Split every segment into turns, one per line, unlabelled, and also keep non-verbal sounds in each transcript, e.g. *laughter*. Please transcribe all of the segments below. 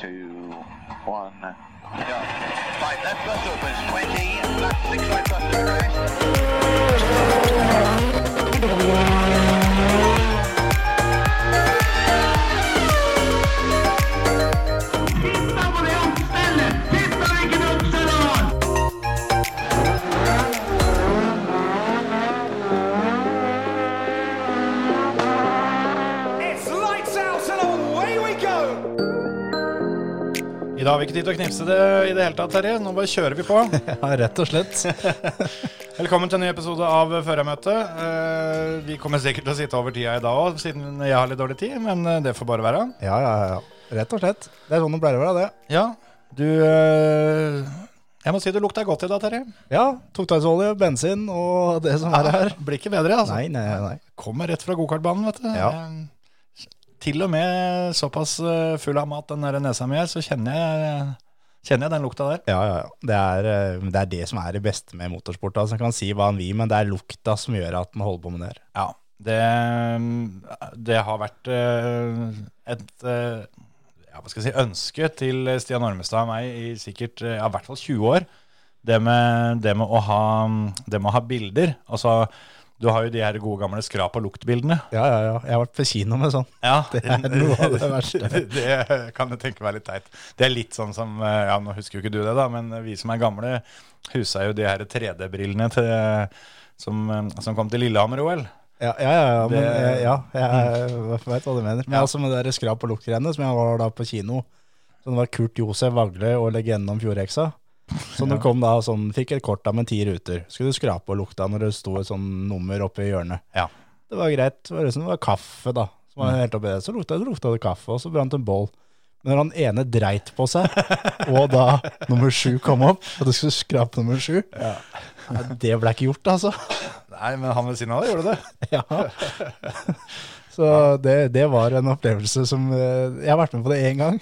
two, one.
Right, left bus opens, 20, left six right bus to crest.
It's lights out and away we go!
I dag har vi ikke tid til å knipse det i det hele tatt, Terje. Nå bare kjører vi på.
*laughs* Ja, rett og slett.
*laughs* Velkommen til en ny episode av Førermøtet. Eh, Vi kommer sikkert til å sitte over tida i dag òg, siden jeg har litt dårlig tid, men eh, det får bare være.
Ja, ja, ja. Rett og slett. Det er sånn det pleier å være, det.
Ja, du eh, Jeg må si du lukter godt i dag, Terje.
Ja, Tungtveisolje, bensin og det som er her.
Blir ikke bedre, altså.
Nei, nei, nei.
Kommer rett fra gokartbanen, vet du.
Ja.
Eh, Til og med såpass eh, full av mat den der nesa mi er, så kjenner jeg, kjenner jeg den lukta der.
Ja, ja, ja. Det er, eh, det er det som er det beste med motorsport. Altså, en kan si hva en vil, men det er lukta som gjør at en holder på med det her.
Ja, det, det har vært eh, et eh, ja, hva skal jeg si, ønske til Stian Ormestad og meg i sikkert eh, ja, i hvert fall 20 år. Det med, det, med å ha, det med å ha bilder. Altså, du har jo de her gode gamle skrap- og luktbildene.
Ja, ja, ja. Jeg har vært på kino med sånn.
Ja,
Det er noe av
*laughs*
det verste.
det kan jeg tenke meg litt teit. Det er litt sånn som eh, Ja, nå husker jo ikke du det, da, men vi som er gamle, husa jo de her 3D-brillene til, som, eh, som kom til Lillehammer-OL.
Ja, ja, ja. ja, men,
Det-
eh, ja jeg veit hva du mener. Men altså med det der skrap- og luktgreiene som jeg var da på kino Så det var Kurt Josef Vagle og legenden om Fjordheksa. Så du kom da og sånn, fikk et kort da med ti ruter. Skulle du skrape og lukta når det sto et sånn nummer oppe i hjørnet.
Ja.
Det var greit. Det var, liksom, det var kaffe, da. Så, var det helt oppi det. så lukta så lukta det kaffe, og så brant en bål. Men når han ene dreit på seg, *laughs* og da nummer sju kom opp, og du skulle skrape nummer sju Nei, Det ble ikke gjort, altså.
Nei, men han ved siden av deg gjorde det.
Ja. Så det, det var en opplevelse som eh, Jeg har vært med på det én gang.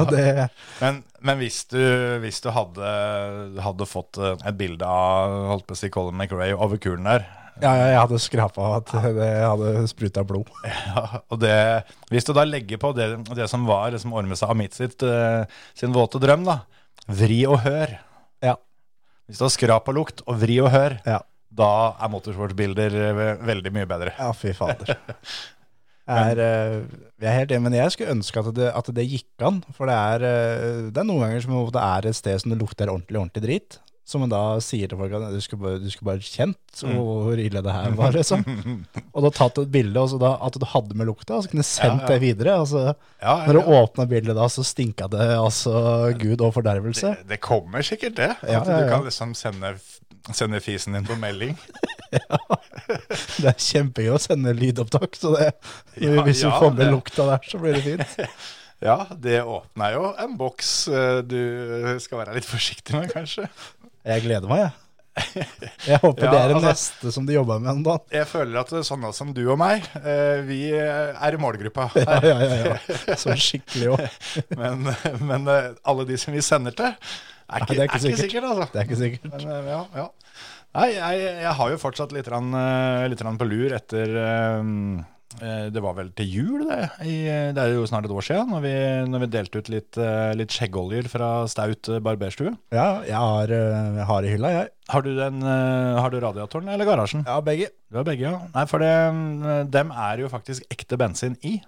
Og det
Men, men hvis du, hvis du hadde, hadde fått eh, et bilde av holdt på å si Colin McRae over kulen der,
Ja, ja, jeg hadde skrapa at det hadde spruta blod.
ja, og det, hvis du da legger på det, det som var liksom Ormestad Amit sitt, eh, sin våte drøm, da, vri og hør.
Ja.
Hvis du har skrap og lukt og vri og hør,
Ja,
da er motorsportbilder eh, veldig mye bedre.
ja fy
*laughs*
fader. Jeg Er, eh, jeg er helt enig, men jeg skulle ønske at det, at det gikk an. For det er, eh, det er noen ganger som det er et sted som det lukter ordentlig ordentlig drit. Som en da sier til folk at du skulle bare, du skulle bare kjent
Mm.
hvor ille det her var. liksom.
*laughs*
Og da tatt et bilde, og så da, at du hadde med lukta, og så kunne du sendt det videre. altså...
Ja,
Når du åpna bildet da, så stinka det altså gud og fordervelse.
Det kommer sikkert det.
Ja,
at
ja,
Du
ja.
kan liksom sende, sende fisen din på melding. *laughs*
Det er kjempegøy å sende lydopptak, så det,
Ja,
hvis
ja,
du får med
det-
lukta der, så blir det fint.
Ja, det åpner jo en boks eh, du skal være litt forsiktig med, kanskje.
Jeg gleder meg, jeg. Jeg håper
*laughs* Ja,
det er det
altså-
neste som de jobber med om dagen. *laughs*
Jeg føler at det er sånne som du og meg, eh, vi eh, er i målgruppa.
*laughs* Ja, ja, ja, ja. Så skikkelig òg.
*laughs* Men, men eh, alle de som vi sender til, er ikke,
det er ikke sikkert.
altså.
Det er ikke sikkert.
Men, eh, ja, ja. Nei, jeg, jeg har jo fortsatt litt, rann, eh, litt rann på lur etter eh, eh, Det var vel til jul, det. I, det er jo snart et år siden, når vi, når vi delte ut litt, eh, litt skjeggoljer fra Staut eh, barberstue.
Ja, jeg har, eh, jeg har i hylla, jeg.
Har du, den, eh, har du radiatoren eller garasjen?
Ja, begge.
Du har begge, ja. Nei, for det, mm, dem er jo faktisk ekte bensin i.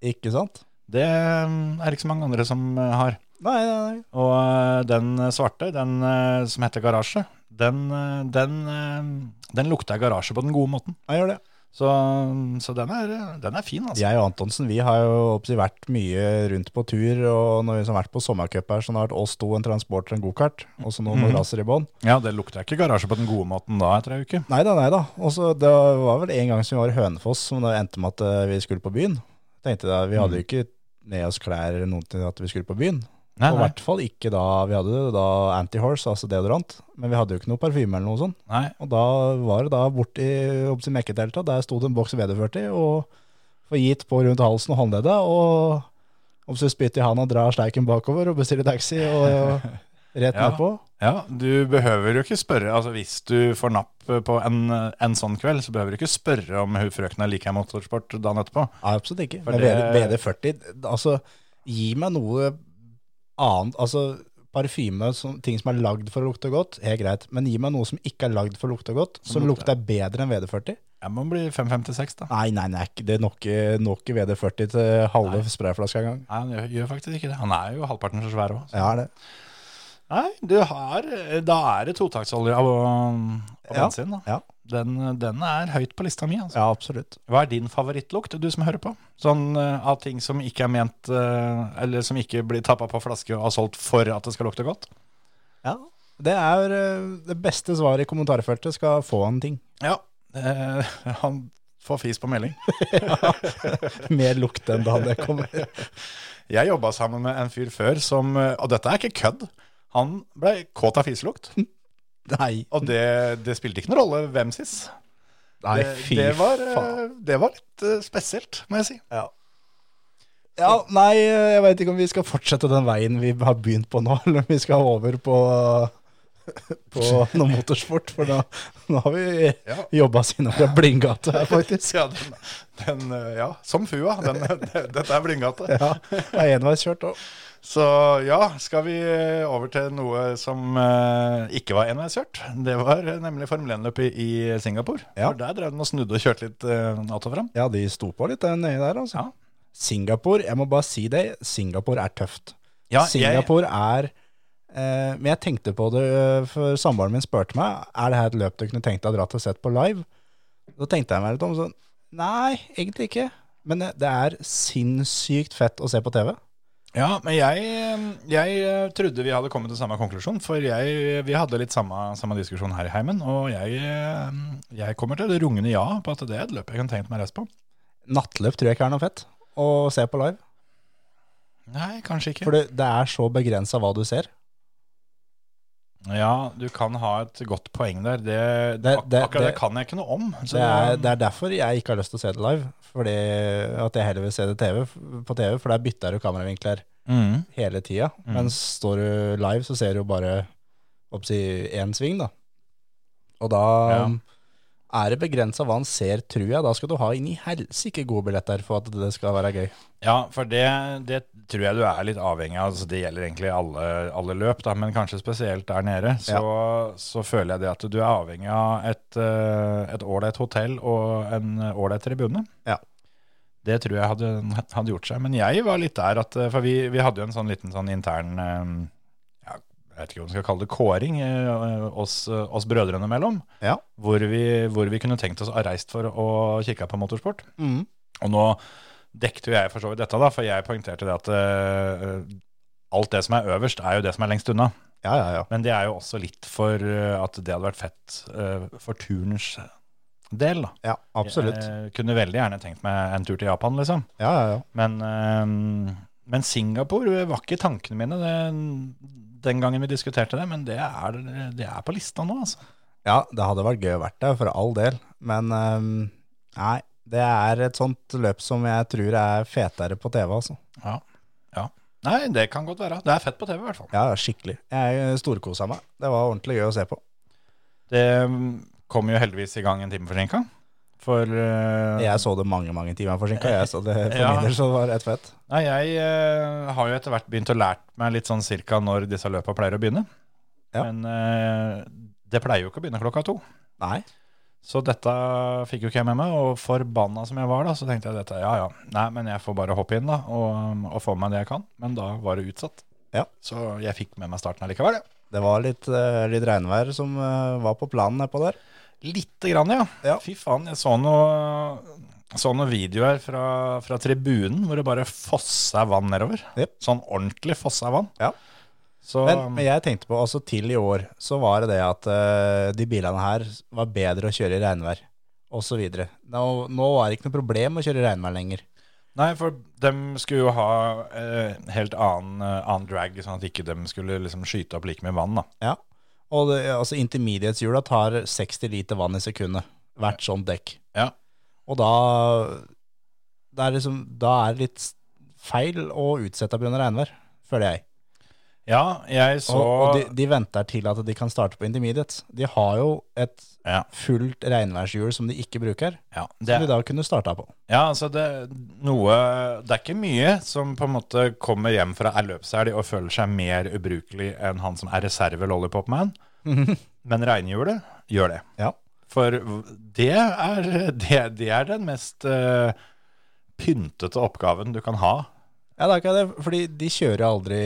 Ikke sant?
Det mm, er det ikke så mange andre som eh, har.
Nei, nei, nei.
Og eh, den svarte, den eh, som heter garasje, den, eh, den, eh, den lukta garasje på den gode måten.
Jeg gjør det.
Så, så den, er, eh, den er fin, altså.
Jeg og Antonsen vi har jo oppsi vært mye rundt på tur, og når vi har vært på sommercup her, så har det vært oss to, en transporter, en gokart, og så
Mhm.
noen madrasser i bånn.
Ja, det lukta ikke garasje på den gode måten da etter ei uke.
Nei da, nei da. Og så det var vel en gang som vi var i Hønefoss, som det endte med at eh, vi skulle på byen. Tenkte da, Vi
Mhm.
hadde jo ikke med oss klær eller noe til at vi skulle på byen.
Nei,
og i
nei,
hvert fall ikke da vi hadde det, da Anti-Horse, altså deodorant. Men vi hadde jo ikke noe parfyme eller noe sånt.
nei.
Og da var det da borti opptil mekketeltet, der sto det en boks VD40 og forgitt på rundt halsen og håndleddet, og opptil spytt i handa, drar steiken bakover og bestiller taxi og, og rett
Ja.
nedpå.
Ja, du behøver jo ikke spørre Altså hvis du får napp på en, en sånn kveld, så behøver du ikke spørre om hun frøkna liker motorsport dagen etterpå.
Nei, Absolutt ikke.
For
Men
det-
VD40, altså gi meg noe annet Altså, parfyme, som, ting som er lagd for å lukte godt, helt greit. Men gi meg noe som ikke er lagd for å lukte godt, som lukter bedre enn VD40.
Jeg må bli 556, da.
Nei, nei, nei, ikke- det eh, når ikke- når ikke VD40 til halve sprayflaska engang.
Nei, han gjør, gjør faktisk ikke det. Han er jo halvparten så svær òg.
Ja, det.
Nei, du har, da er det totaktsolje av, av
Ja.
bensin. Da.
Ja,
Den, den er høyt på lista mi. Altså.
ja absolutt.
Hva er din favorittlukt, du som hører på? Sånn eh, av ting som ikke er ment eh, Eller som ikke blir tappa på flaske og solgt for at det skal lukte godt?
Ja. Det er eh, det beste svaret i kommentarfeltet skal få en ting. *laughs*
Ja. Eh, *laughs* han får fis på melding.
Mer lukt enn da det
*laughs*
kommer.
Jeg jobba sammen med en fyr før som eh, Og dette er ikke kødd. Han ble kåt av fiselukt.
Nei,
Og det, det spilte ikke noen rolle hvem sis.
nei
det,
fy
det var, eh,
faen.
Det var litt eh, spesielt, må jeg si.
Ja. ja, nei, eh, jeg veit ikke om vi skal fortsette den veien vi har begynt på nå, *laughs* eller om vi skal over på, på
*laughs*
noe motorsport, for nå, nå har vi
Ja.
jobba oss innom fra
*laughs*
blindgate her, faktisk.
Ja, den, den, eh, ja som fua. Den, *laughs* dette er blindgate.
Ja, det er enveiskjørt òg.
Så ja, skal vi eh, over til noe som eh, ikke var enveiskjørt. Det var eh, nemlig Formel 1-løpet i i Singapore.
Ja.
For der drev den og snudde og kjørte litt eh, natt og fram.
Ja, de sto på litt der nede der, altså.
Ja.
Singapore, jeg må bare si det, Singapore er tøft.
Ja, jeg-
Singapore er eh, Men jeg tenkte på det, eh, for samboeren min spurte meg Er det her et løp du kunne tenkt deg å dra til og sett på live. Da tenkte jeg meg litt om sånn Nei, egentlig ikke. Men eh, det- det er sinnssykt fett å se på TV.
Ja, men jeg, jeg eh, trodde vi hadde kommet til samme konklusjon, for jeg, vi hadde litt samme, samme diskusjon her i heimen, og jeg, eh, jeg kommer til det rungende ja på at det er et løp jeg kan tenke meg å reise på.
Nattløp tror jeg ikke er noe fett å se på live.
Nei, kanskje ikke.
For det, det er så begrensa hva du ser.
Ja, du kan ha et godt poeng der. Det,
Det-
ak-
det-
akkurat det,
det-
kan jeg ikke noe om. så
Det er, det er derfor jeg ikke har lyst til å se det live. Fordi at jeg heller vil se det TV, på TV, for der bytter du kameravinkler
Mm.
hele tida. Men står du live, så ser du jo bare oppsi én sving, da. Og da um,
Ja.
er det begrensa hva han ser, tror jeg. Da skal du ha inn i helsike gode billetter for at det skal være gøy.
Ja, for det, det tror jeg du er litt avhengig av. Altså, det gjelder egentlig alle, alle løp, da, men kanskje spesielt der nede. Så, så føler jeg det at du er avhengig av et eh, et ålreit hotell og en ålreit tribune.
Ja.
Det tror jeg hadde, hadde gjort seg. Men jeg var litt der at eh, For vi, vi hadde jo en sånn liten sånn intern eh, ja, Jeg vet ikke om vi skal kalle det kåring eh, oss, oss brødrene mellom.
Ja.
Hvor, vi, hvor vi kunne tenkt oss å ha reist for å kikke på motorsport.
Mm.
Og nå dekte jo jeg for så vidt dette, da, for jeg poengterte det at eh, alt det som er øverst, er jo det som er lengst unna.
Ja, ja, ja.
Men det er jo også litt for eh, at det hadde vært fett eh, for turens del, da.
Ja, absolutt.
Jeg kunne veldig gjerne tenkt meg en tur til Japan, liksom.
Ja, ja, ja.
Men, eh, men Singapore var ikke i tankene mine den, den gangen vi diskuterte det, men det er, det er på lista nå, altså.
Ja, det hadde vært gøy å vært der, for all del. Men ehm, nei, det er et sånt løp som jeg tror er fetere på TV, altså.
Ja. ja. Nei, det kan godt være. Det er fett på TV, i hvert fall.
Ja, ja, skikkelig. Jeg storkosa meg. Det var ordentlig gøy å se på.
Det kom jo heldigvis i gang en time forsinka. For eh,
Jeg så det mange, mange timer forsinka, jeg, så det for
Ja.
min del så var det rett fett.
Nei, jeg eh, har jo etter hvert begynt å lært meg litt sånn cirka når disse løpa pleier å begynne.
Ja.
Men eh, det pleier jo ikke å begynne klokka to.
Nei.
Så dette fikk jo ikke jeg med meg, og forbanna som jeg var da, så tenkte jeg dette, ja ja, nei, men jeg får bare hoppe inn da, og, um, og få med meg det jeg kan. Men da var det utsatt.
Ja.
Så jeg fikk med meg starten allikevel, ja.
Det var litt, eh, litt regnvær som eh, var på planen nedpå der.
Lite grann, ja.
Ja.
Fy faen, jeg så noe, så noe video her fra, fra tribunen hvor det bare fossa vann nedover.
Jep.
Sånn ordentlig fossa vann.
Ja.
Så,
Men, men jeg tenkte på, altså til i år, så var det det at eh, de bilene her var bedre å kjøre i regnvær, osv. Nå, nå var det ikke noe problem å kjøre i regnvær lenger.
Nei, for de skulle jo ha eh, helt annen, eh, annen drag, sånn at ikke de skulle liksom skyte opp like mye vann. da.
Ja. Og det, altså intermediateshjula tar 60 liter vann i sekundet, hvert sånt dekk.
Ja.
Og da det er liksom, da er det litt feil å utsette pga. regnvær, føler jeg.
Ja, jeg så
Og, og de, de venter til at de kan starte på intermediate. De har jo et
Ja.
fullt regnværshjul som de ikke bruker,
ja, det,
som de da kunne starta på.
ja, altså det, noe, det er ikke mye som på en måte kommer hjem fra ei løpshelg og føler seg mer ubrukelig enn han som er reserve-lollipopman. Men regnhjulet gjør det.
Ja.
For det er, det, det er den mest eh, pyntete oppgaven du kan ha.
Ja, det er ikke det, fordi de kjører aldri,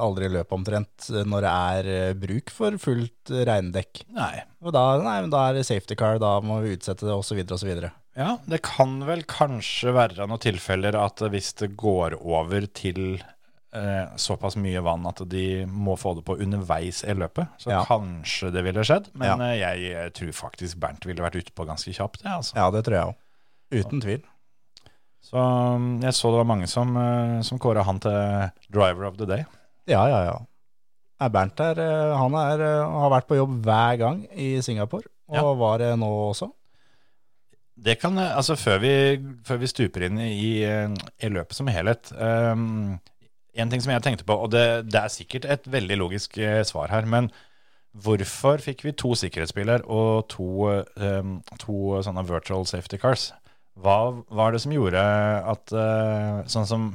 aldri løp omtrent når det er eh, bruk for fullt eh, regndekk.
Nei.
Og da, nei, men da er det safety car, da må vi utsette det, osv., osv.
Ja, det kan vel kanskje være noen tilfeller at hvis det går over til eh, såpass mye vann at de må få det på underveis i løpet, så
Ja.
kanskje det ville skjedd. Men
Ja.
eh, jeg eh, tror faktisk Bernt ville vært ute på ganske kjapt, jeg, altså.
Ja, det tror jeg òg. Uten tvil.
Så mm, jeg så det var mange som, eh, som kåra han til driver of the day.
Ja, ja, ja. Nei, Bernt er, eh, han er, eh, har vært på jobb hver gang i Singapore, og
Ja.
var det nå også.
Det kan, eh, altså før vi, før vi stuper inn i, eh, i løpet som helhet ehm, En ting som jeg tenkte på, og det, det er sikkert et veldig logisk eh, svar her, men hvorfor fikk vi to sikkerhetsbiler og to, eh, ehm, to sånne virtual safety cars? Hva var det som gjorde at eh, Sånn som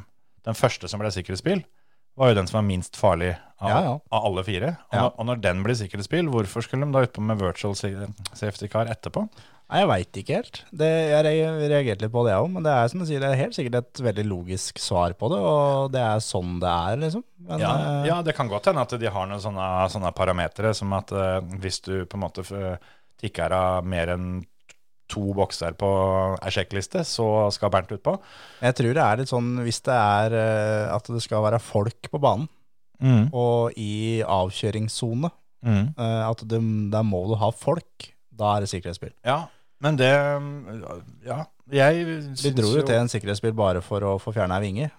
den første som ble sikkerhetsbil, var jo den som var minst farlig av,
Ja, ja.
av alle fire. Og,
Ja.
når, og når den ble sikkerhetsbil, hvorfor skulle de da utpå med virtual si- safety car etterpå?
Nei, Jeg veit ikke helt. Det, jeg re- reagerte litt på det òg, men det er som du sier, det er helt sikkert et veldig logisk svar på det, og det er sånn det er, liksom. Men,
Ja,
eh,
ja, det kan godt hende at de har noen sånne, sånne parametere som at eh, hvis du på en måte f- eh, tikker av mer enn to bokser på ei sjekkliste, så skal Bernt utpå.
Jeg tror det er litt sånn hvis det er eh, at det skal være folk på banen
Mm.
og i avkjøringssone,
Mm.
eh, at du, der må du ha folk. Da er det sikkerhetsbil.
Ja, men det mm, Ja, jeg syns
De dro jo til en sikkerhetsbil bare for å få fjerna ei vinge.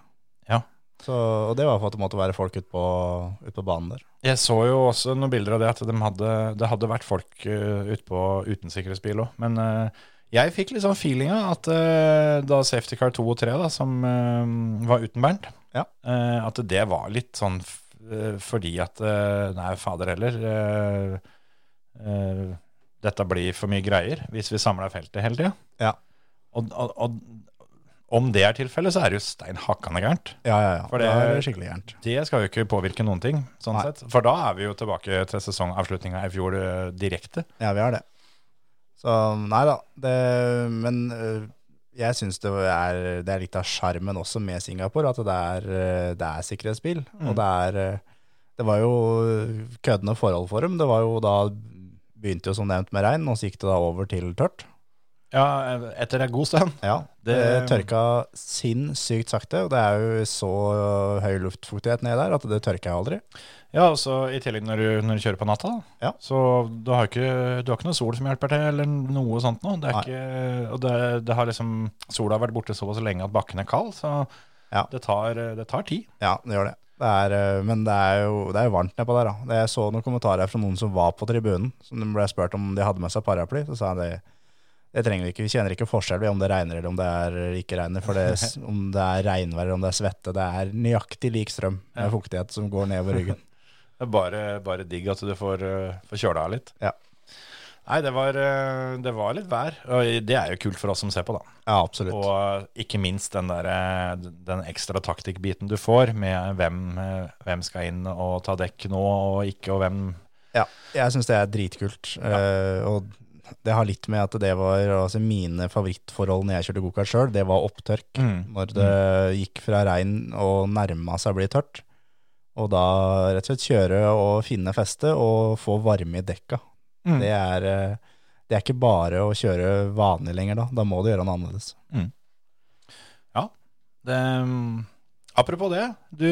Ja.
Så, og det var for at det måtte være folk ute på, ut på banen der.
Jeg så jo også noen bilder av det, at de hadde, det hadde vært folk eh, ute på uten sikkerhetsbil òg. Men eh, jeg fikk litt sånn feelinga at eh, da Safety Car 2 og 3, da, som eh, var uten Bernt,
Ja.
eh, at det var litt sånn f eh, fordi at eh, Nei, fader heller. eh, eh, dette blir for mye greier hvis vi samler feltet hele tida.
Ja.
Og, og, og om det er tilfellet, så er det jo stein hakkande gærent.
Ja, ja, ja.
For
det,
det-
er skikkelig gærent.
Det skal jo ikke påvirke noen ting, sånn
Nei.
sett. For da er vi jo tilbake til sesongavslutninga i fjor eh, direkte.
Ja, vi har det. Så nei da. Det, men øh, jeg syns det, er- det er litt av sjarmen også med Singapore, at det er, øh, det er sikkerhetsbil. Og det er øh, Det var jo eh, køddende forhold for dem. Det var jo da Begynte jo som nevnt med regn, og så gikk det da over til tørt.
Ja, eh, etter en god stund.
Ja, det,
Det-
tørka sinnssykt sakte, og det er jo så øh, høy luftfuktighet nedi der at det tørka jeg aldri.
Ja, og så i tillegg når du, når du kjører på natta, da.
Ja.
Så du har, ikke, du har ikke noe sol som hjelper til, eller noe sånt noe. Det er
Nei.
ikke, og det, det har liksom Sola har vært borte såpass lenge at bakken er kald, så
Ja.
det, tar, eh, det tar tid.
Ja, det gjør det. det er, eh, men det er jo, det er jo varmt nedpå der. da. Det- Jeg så noen kommentarer fra noen som var på tribunen. som de ble spurt om de hadde med seg paraply. Så sa han det, det trenger vi ikke. Vi kjenner ikke forskjell ved om det regner eller om det er ikke regner. For det, *laughs* s- om det er regnvær eller om det er svette, det er nøyaktig lik strøm med fuktighet som går nedover *laughs* ryggen.
Det er bare, bare digg at du får, eh, får kjøla av litt.
Ja.
Nei, det var, eh, det var litt vær. Og det er jo kult for oss som ser på, da.
Ja, absolutt.
Og ikke minst den, der, eh, den ekstra taktikkbiten du får med hvem, eh, hvem skal inn og ta dekk nå og ikke, og hvem
Ja, jeg syns det er dritkult. eh, og det har litt med at det var altså mine favorittforhold når jeg kjørte gokart sjøl, det var opptørk.
Mm.
Når det gikk fra regn og nærma seg å bli tørt. Og da rett og slett kjøre og finne feste og få varme i dekka.
Mm.
Det, er, eh, det er ikke bare å kjøre vanlig lenger da. Da må du gjøre noe annerledes.
Ja. Det, mm, apropos det, du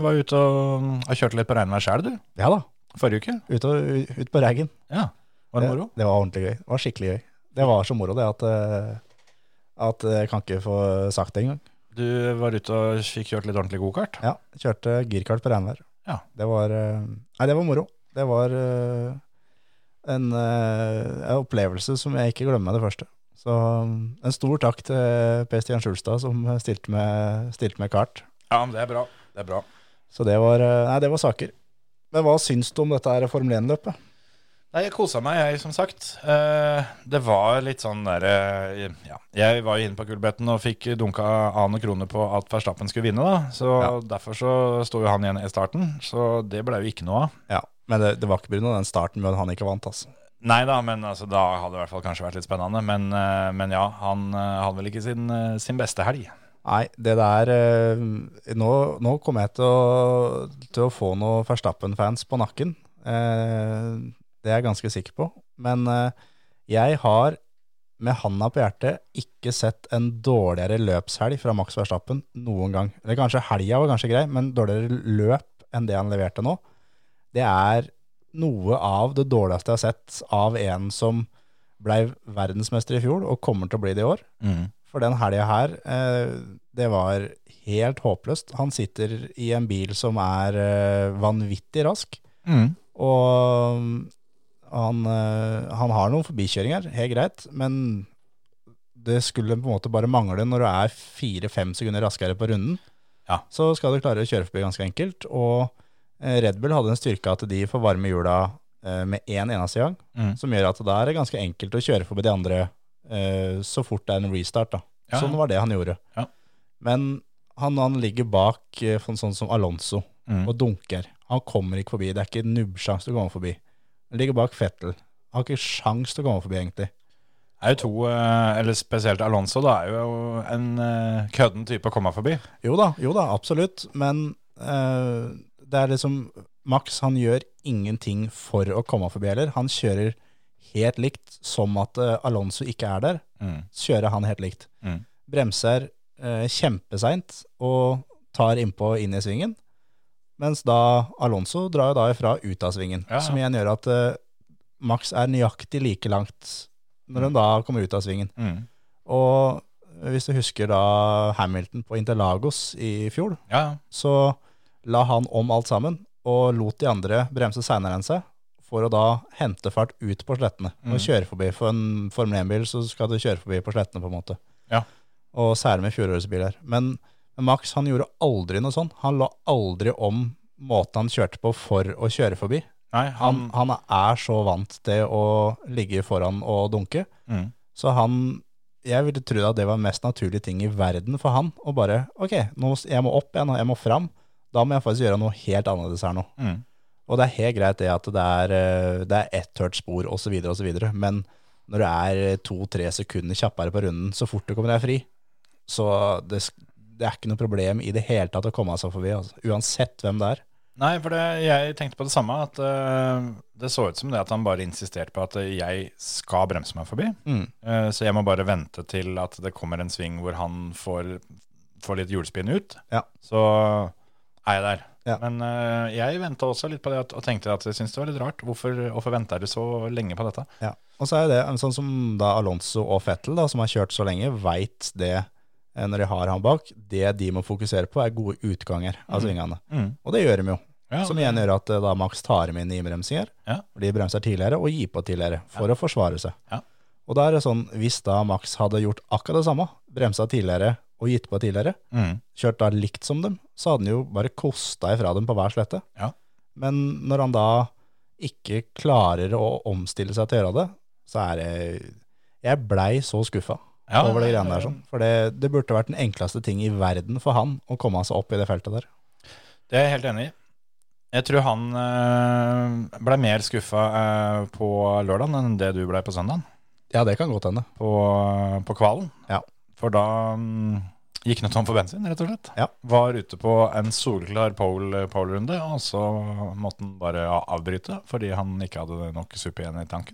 var ute og, mm, og kjørte litt på regnvær sjøl, du.
Ja da,
Forrige uke.
ut, og, ut på Reggen.
Ja. Var det moro?
Det, var ordentlig gøy. Det var skikkelig gøy. Det var så moro det at, eh, at eh, jeg kan ikke få sagt det engang.
Du var ute og fikk kjørt litt ordentlig godkart?
Ja, kjørte girkart på regnvær.
Ja.
Det var, eh, nei, det var moro. Det var eh, en, eh, en opplevelse som jeg ikke glemmer med det første. Så um, en stor takk til Per Stian Skjulstad som stilte med, stilte med kart.
Ja, men det er bra. Det er bra.
Så det var, eh, nei, det var saker. Men hva syns du om dette her Formel 1-løpet?
Nei, jeg kosa meg, jeg, som sagt. Eh, det var litt sånn derre Ja, jeg var jo inne på gullbeten og fikk dunka annen krone på at Verstappen skulle vinne, da. Så
Ja.
derfor så sto jo han igjen i starten. Så det ble jo ikke noe av.
Ja, men det, det var ikke pga. den starten med at han ikke vant, altså.
Nei da, men altså, da hadde det i hvert fall kanskje vært litt spennende. Men, eh, men ja, han eh, hadde vel ikke sin, eh, sin beste helg.
Nei, det der eh, Nå, nå kommer jeg til å, til å få noen Verstappen-fans på nakken. Eh, det er jeg ganske sikker på. Men eh, jeg har med handa på hjertet ikke sett en dårligere løpshelg fra Max Verstappen noen gang. Det er kanskje helga var kanskje grei, men dårligere løp enn det han leverte nå. Det er noe av det dårligste jeg har sett av en som blei verdensmester i fjor og kommer til å bli det i år. For den helga her, eh, det var helt håpløst. Han sitter i en bil som er eh, vanvittig rask,
Mm.
og mm, han, eh, han har noen forbikjøringer, helt greit, men det skulle på en måte bare mangle når du er fire-fem sekunder raskere på runden.
Ja.
Så skal du klare å kjøre forbi ganske enkelt, og eh, Red Bull hadde en styrke at de får varme hjula eh, med én en eneste gang,
Mm.
som gjør at da er det ganske enkelt å kjøre forbi de andre eh, så fort det er en restart. da.
Ja.
Sånn var det han gjorde.
Ja.
Men han, han ligger bak eh, for sånn som Alonso
Mm.
og dunker. Han kommer ikke forbi. Det er ikke nubbsjans til å komme forbi. Han ligger bak Fettel. Han har ikke sjans til å komme forbi, egentlig.
er jo to, eh, eller spesielt Alonso, da, er jo en eh, kødden type å komme forbi.
Jo da, jo da, absolutt. Men eh, det er liksom Max han gjør ingenting for å komme forbi heller. Han kjører helt likt som at eh, Alonso ikke er der.
Mm.
Så kjører han helt likt.
Mm.
Bremser eh, kjempeseint og tar innpå inn i svingen. Mens da Alonso drar jo da ifra ut av svingen.
Ja, ja.
Som igjen gjør at eh, Max er nøyaktig like langt når han da kommer ut av svingen.
Mm.
Og hvis du husker da Hamilton på Interlagos i fjor,
Ja, ja.
så la han om alt sammen og lot de andre bremse seinere enn seg for å da hente fart ut på slettene og kjøre forbi. For en Formel 1-bil så skal du kjøre forbi på slettene, på en måte.
Ja.
Og særlig med fjorårsbiler. Men Max han gjorde aldri noe sånn. Han la aldri om måten han kjørte på for å kjøre forbi.
Nei, han,
Han, han er så vant til å ligge foran og dunke.
Mm.
Så han Jeg ville tro at det var den mest naturlige ting i verden for han. Å bare OK, nå, s- jeg må opp igjen, og jeg må fram. Da må jeg faktisk gjøre noe helt annerledes her nå.
Mm.
Og det er helt greit det at det er, eh, det er ett hørt spor osv., osv., men når du er eh, to-tre sekunder kjappere på runden så fort du kommer deg fri, så det, sk- det er ikke noe problem i det hele tatt å komme seg forbi, altså. uansett hvem det er.
Nei, for det, jeg tenkte på det samme. At eh, det så ut som det at han bare insisterte på at eh, jeg skal bremse meg forbi.
Mm.
Eh, så jeg må bare vente til at det kommer en sving hvor han får, får litt hjulspinn ut.
Ja.
Så er jeg der.
Ja.
Men eh, jeg venta også litt på det at, og tenkte at jeg syntes det var litt rart. Hvorfor, hvorfor venta du så lenge på dette?
Ja, og så er det sånn som da Alonso og Fettel, da, som har kjørt så lenge, veit det eh, når de har han bak. Det de må fokusere på, er gode utganger av svingene.
Mm.
Og det gjør de jo.
Ja,
som igjen gjør at eh, da Max tar dem inn i innbremsinger.
Ja.
hvor De bremser tidligere og gir på tidligere for å forsvare seg.
Ja.
Og da er det sånn, hvis da Max hadde gjort akkurat det samme, bremsa tidligere og gitt på tidligere,
Mm.
kjørt da likt som dem, så hadde han jo bare kosta ifra dem på hver slette.
Ja.
Men når han da ikke klarer å omstille seg til å gjøre det, så er det Jeg blei så skuffa
Ja,
over de greiene der sånn. For det, det burde vært den enkleste ting i verden for han å komme seg opp i det feltet der.
Det er jeg helt enig i. Jeg tror han eh, ble mer skuffa eh, på lørdagen enn det du ble på søndagen,
Ja, det kan godt hende.
på, på kvalen.
Ja.
For da mm, gikk han tom for bensin, rett og slett.
Ja.
Var ute på en solklar pole- pole-runde, og så måtte han bare a- avbryte fordi han ikke hadde nok suppe igjen i tanken.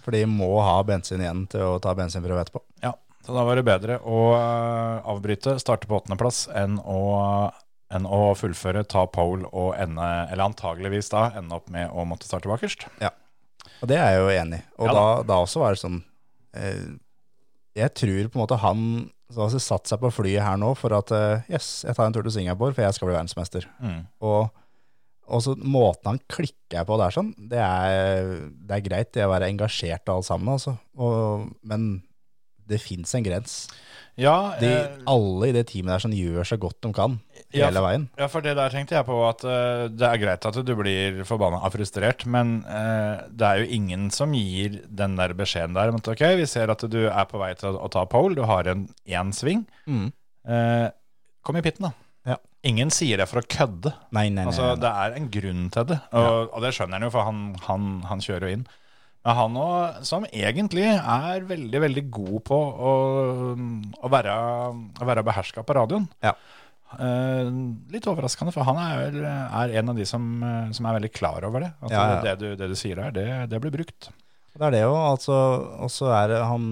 For de må ha bensin igjen til å ta bensinprøve etterpå.
Ja, Så da var det bedre å eh, avbryte, starte på åttendeplass, enn å enn å fullføre, ta pole og ende, eller antageligvis da, ende opp med å måtte starte bakerst.
Og det er jeg jo enig i. Og
Ja da.
da, da også var det sånn eh, Jeg tror på en måte han så altså, satt seg på flyet her nå for at eh, yes, jeg tar en tur til Singapore, for jeg skal bli verdensmester.
Mm.
Og og så måten han klikker på der sånn, det er, det er greit det å være engasjert og alt sammen, altså. Og, men det fins en grens.
Ja,
De,
eh,
alle i det teamet der som gjør så godt de kan
Ja,
hele veien.
Ja, for det der tenkte jeg på at eh, det er greit at du blir forbanna og frustrert, men eh, det er jo ingen som gir den der beskjeden der om at ok, vi ser at du er på vei til å, å ta pole, du har en én sving. Eh, kom i pitten, da.
Ja.
Ingen sier det for å kødde.
Nei, nei, nei.
Altså,
nei.
det er en grunn til det, og, og det skjønner han jo, for han, han, han kjører jo inn. Men han òg, som egentlig er veldig, veldig god på å, å være, å være beherska på radioen.
Ja.
Eh, litt overraskende, for han er, vel, er en av de som, eh, som er veldig klar over det. At
Ja, ja.
Det, du, det du sier her, det, det blir brukt.
Det er det jo. Altså, og så er det Han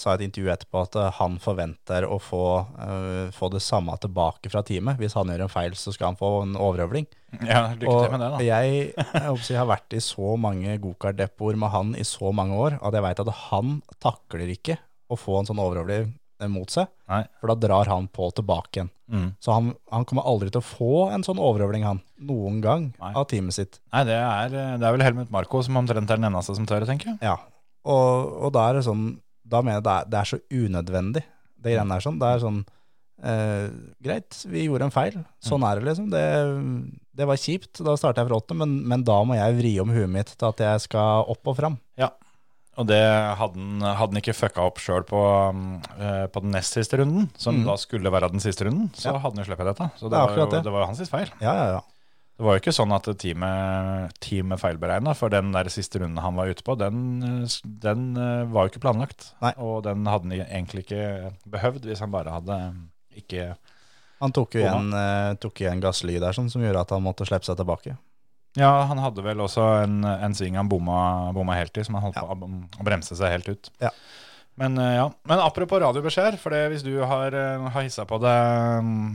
sa i et intervju etterpå at eh, han forventer å få, eh, få det samme tilbake fra teamet. Hvis han gjør en feil, så skal han få en overøvling.
Ja, lykke til med det,
og
da.
jeg, jeg håper å si, har vært i så mange gokartdepoter med han i så mange år at jeg veit at han takler ikke å få en sånn overøvling eh, mot seg.
Nei.
For da drar han på tilbake igjen.
Mm.
Så han, han kommer aldri til å få en sånn overøvling, han. Noen gang
Nei.
av teamet sitt.
Nei, det er, det er vel Helmut Marko som omtrent er den eneste som tør, tenker jeg.
Ja. Og, og da er det sånn Da mener jeg det er, det er så unødvendig,
Mm.
det greiene der sånn. Det er sånn eh, Greit, vi gjorde en feil.
Mm.
Sånn er det, liksom. Det, det var kjipt. Da starta jeg fra åtte, men, men da må jeg vri om huet mitt til at jeg skal opp og fram.
Ja. Og det hadde han, hadde han ikke fucka opp sjøl på, um, eh, på den nest siste runden, som da skulle være den siste runden, så
Mm. Ja.
hadde han jo sluppet dette. Så det,
Det er
var jo,
akkurat det.
det var jo hans sitt feil.
Ja, ja, ja.
Det var jo ikke sånn at teamet, teamet feilberegna, for den der siste runden han var ute på, den, eh, s- den eh, var jo ikke planlagt.
Nei.
Og den hadde han egentlig ikke behøvd hvis han bare hadde ikke
Han tok
Og
jo igjen, eh, tok igjen gasslyd der sånn, som gjorde at han måtte slippe seg tilbake.
Ja, han hadde vel også en, en sving han bomma, bomma helt i, som han holdt på å bom- å bremse seg helt ut.
Ja.
Men, eh, ja. Men apropos radiobeskjeder, for det, hvis du har, eh, har hissa på deg mm,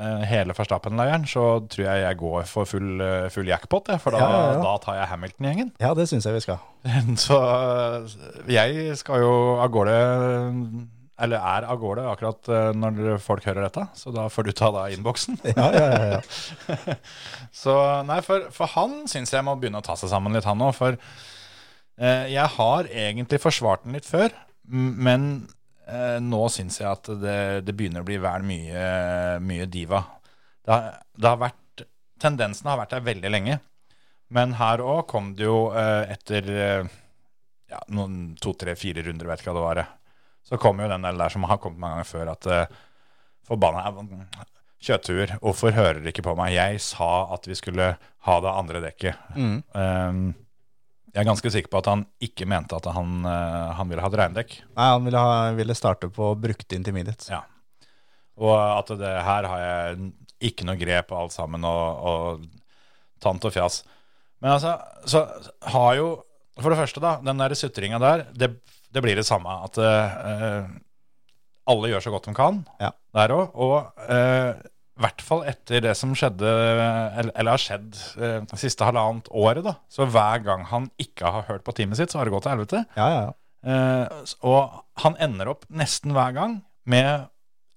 eh, hele Verstappen-leiren, så tror jeg jeg går for full, eh, full jackpot, jeg, for da,
Ja, ja, ja.
da tar jeg Hamilton-gjengen.
Ja, det syns jeg vi skal.
*laughs* Så eh, jeg skal jo av gårde Eller er av gårde akkurat eh, når folk hører dette, så da får du ta deg av innboksen.
Ja, ja, ja, ja.
*laughs* Så nei, for, for han syns jeg må begynne å ta seg sammen litt, han òg. For eh, jeg har egentlig forsvart den litt før, m- men eh, nå syns jeg at det, det begynner å bli vel mye, mye diva. Det har, det har vært Tendensen har vært der veldig lenge, men her òg kom det jo eh, etter eh, ja, noen to, tre, fire runder, vet ikke hva det var, eh, så kom jo den der, der som har kommet mange ganger før, at eh, forbanna kjøttur. Hvorfor hører dere ikke på meg? Jeg sa at vi skulle ha det andre dekket. Um, jeg er ganske sikker på at han ikke mente at han, eh, han ville ha et regndekk.
Nei, han ville, ha, ville starte på brukte intermediates.
Ja. Og at det her har jeg ikke noe grep og alt sammen, og, og tant og fjas. Men altså, så har jo For det første, da. Den der sutringa der, det, det blir det samme. At eh, alle gjør så godt de kan
Ja.
der òg. Og eh, i hvert fall etter det som skjedde, eller, eller har skjedd eh, det siste halvannet året, da. Så hver gang han ikke har hørt på teamet sitt, så har det gått til helvete.
Ja, ja, ja.
Eh, og han ender opp nesten hver gang med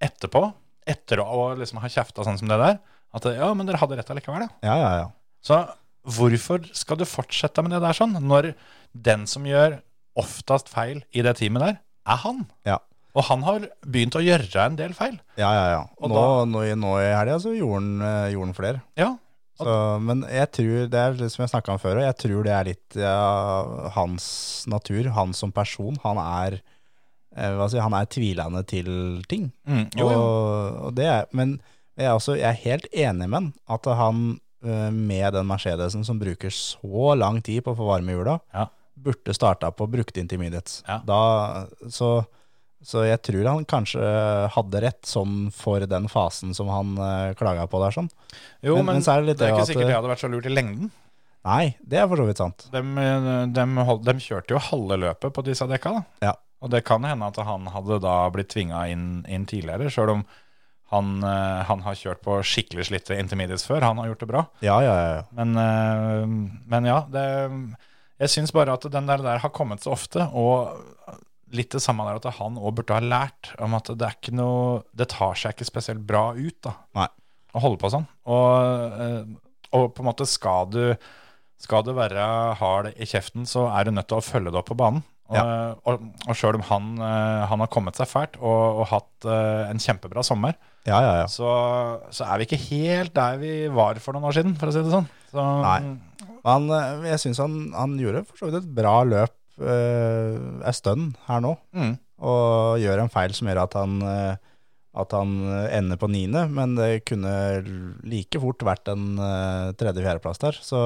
etterpå, etter å liksom ha kjefta sånn som det der, at ja, men dere hadde rett allikevel, ja.
ja, ja, ja.
Så hvorfor skal du fortsette med det der sånn, når den som gjør oftest feil i det teamet der, er han?
ja.
Og han har begynt å gjøre en del feil.
Ja, ja, ja.
Og
nå,
da-
nå, i- nå i helga så gjorde han, eh, gjorde han flere.
Ja,
Så, men jeg tror, det er litt som jeg snakka om før, og jeg tror det er litt ja, hans natur, han som person. Han er, eh, hva skal jeg si, han er tvilende til ting.
Mm, jo, jo.
Og, og det er, men jeg er, også, jeg er helt enig med han, at han eh, med den Mercedesen som bruker så lang tid på å få varme hjula,
Ja.
burde starta på brukte intermediates.
Ja.
Da, så, så jeg tror han kanskje hadde rett sånn for den fasen som han eh, klaga på der. sånn.
jo
men-
men,
men så er det
det, er
litt det
ikke
at- eh,
sikkert det hadde vært så lurt i lengden. eh,
Nei, det er for så vidt sant.
De, kjørte jo halve løpet på disse dekka, da.
Ja,
Og det kan hende at han hadde da blitt tvinga inn, inn tidligere, sjøl om han, eh, han har kjørt på skikkelig slitte intermediates før. Han har gjort det bra.
ja, ja. ja, ja.
Men, eh, men ja, det, jeg syns bare at den der, der har kommet så ofte, og litt det samme der at han òg burde ha lært om at det er ikke noe Det tar seg ikke spesielt bra ut, da
Nei.
å holde på sånn. Og, eh, og på en måte skal du, skal du være hard i kjeften, så er du nødt til å følge det opp på banen. Og, eh, og, og sjøl om han, eh, han har kommet seg fælt og, og hatt eh, en kjempebra sommer,
Ja, ja, ja.
så, så er vi ikke helt der vi var for noen år siden, for å si det sånn. Så,
Nei. Han, eh, jeg syns han, han gjorde for så vidt et bra løp eh, en stund her nå,
Mm,
og gjør en feil som gjør at han, eh, at han eh, ender på niende, men det kunne like fort vært en eh, tredje-fjerdeplass der. Så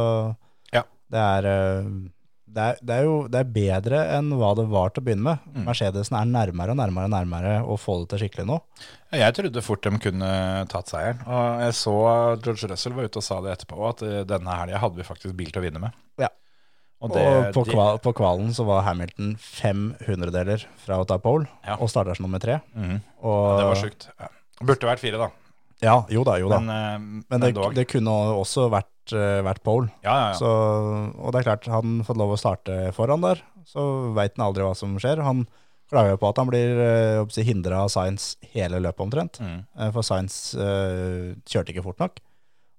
Ja.
det er eh, det er, det er jo det er bedre enn hva det var til å begynne med.
Mm.
Mercedesen er nærmere og nærmere og nærmere å få det til skikkelig nå.
Jeg trodde fort de kunne tatt seieren. Og jeg så George Russell var ute og sa det etterpå, at eh, denne helga hadde vi faktisk bil til å vinne med.
Ja.
Og
Og,
det,
på,
de-
kval, på kvalen så var Hamilton fem hundredeler fra å ta pole,
Ja.
og starter som nummer tre.
Mhm.
Og,
det var sjukt. Ja. Burde vært fire, da.
Ja, jo da, jo da.
Men,
Men,
eh,
det,
men dog.
det kunne også vært, eh, vært pole.
ja, ja, ja.
Så, og det er klart, hadde han fått lov å starte foran der, så veit han aldri hva som skjer. Han klager jo på at han blir eh, hindra av Science hele løpet omtrent,
Mm.
Eh, for Science eh, kjørte ikke fort nok.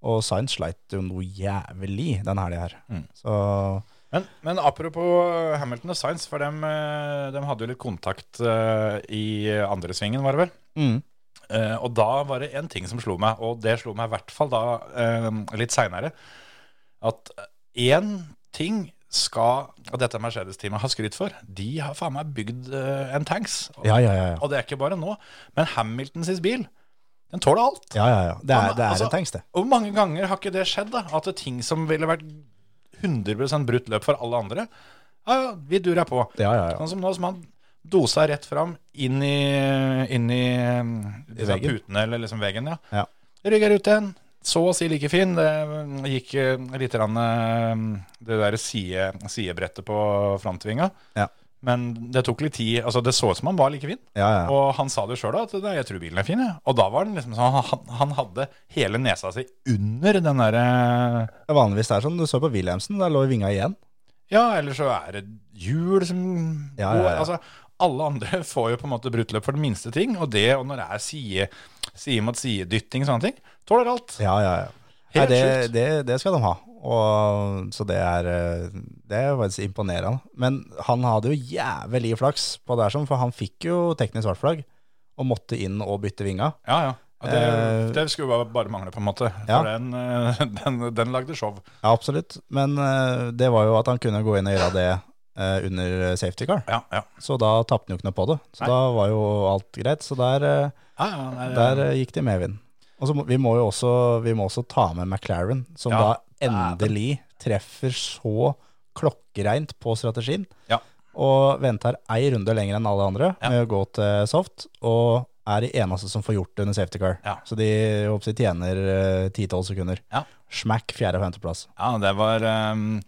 Og Science sleit jo noe jævlig den helga her.
Mm.
Så
Men, men apropos Hamilton og Science, for dem, eh, dem hadde jo litt kontakt eh, i andre svingen, var det vel?
mm,
Eh, og da var det en ting som slo meg, og det slo meg i hvert fall da eh, litt seinere, at én ting skal Og dette Mercedes-teamet har skrytt for. De har faen meg bygd eh, en tanks. Og,
ja, ja, ja. ja.
og det er ikke bare nå. Men Hamilton sin bil, den tåler alt.
Ja, ja, ja. Det
Ja,
er,
men
det er
altså-
en tanks, det.
Og hvor mange ganger har ikke det skjedd? da? At det er ting som ville vært 100 brutt løp for alle andre, ja, ja, vi durer på.
Ja, ja, ja.
Sånn som nå, som han dosa rett fram, inn i, inn i, um, disse
veggen.
putene, eller liksom veggen, ja.
Ja.
Rygger ut igjen, så å si like fin. Det um, gikk eh, litt rann, eh, det der side, sidebrettet på framtvinga.
Ja.
Men det tok litt tid. altså Det så ut som han var like fin.
Ja, ja, ja.
Og han sa det sjøl, at «Nei, 'jeg tror bilen er fin', jeg. Og da var den liksom sånn, han, han hadde hele nesa si under den eh, derre
Det er Vanligvis det er sånn, du så på Wilhelmsen, der lå vinga igjen.
Ja, eller så er det hjul som
Ja, ja, ja.
Altså, alle andre *laughs* får jo på en måte brutløp for den minste ting, og det, og når det er side, side mot side-dytting og sånne ting, tåler alt.
Ja, ja, ja. Nei,
Helt
det,
sjukt.
det, det skal de ha. Og, så det er, eh, det er faktisk imponerende. Men han hadde jo jævlig flaks på det her, sånn, for han fikk jo teknisk svart flagg og måtte inn og bytte vinga.
Ja, ja. Ja, Det,
Eh.
det skulle bare, bare mangle, på en måte.
Ja.
For den, eh, *laughs* den, den lagde show.
Ja, absolutt. Men eh, det var jo at han kunne gå inn og gjøre det eh, under safety car.
Ja, ja.
Så da tapte han jo ikke noe på det. Så
Nei.
da var jo alt greit. Så der eh,
ja, ja nei,
Der eh, gikk de med vind. Og så må, vi må jo også, vi må også ta med McLaren, som
Ja,
da endelig treffer så klokkereint på strategien.
Ja.
Og venter ei runde lenger enn alle andre
Ja.
med å gå til soft, og er de eneste som får gjort det under safety car.
Ja.
Så de jeg håper de tjener eh, 10-12 sekunder.
Ja.
Smack fjerde- og femteplass.
Ja, det var, ehm,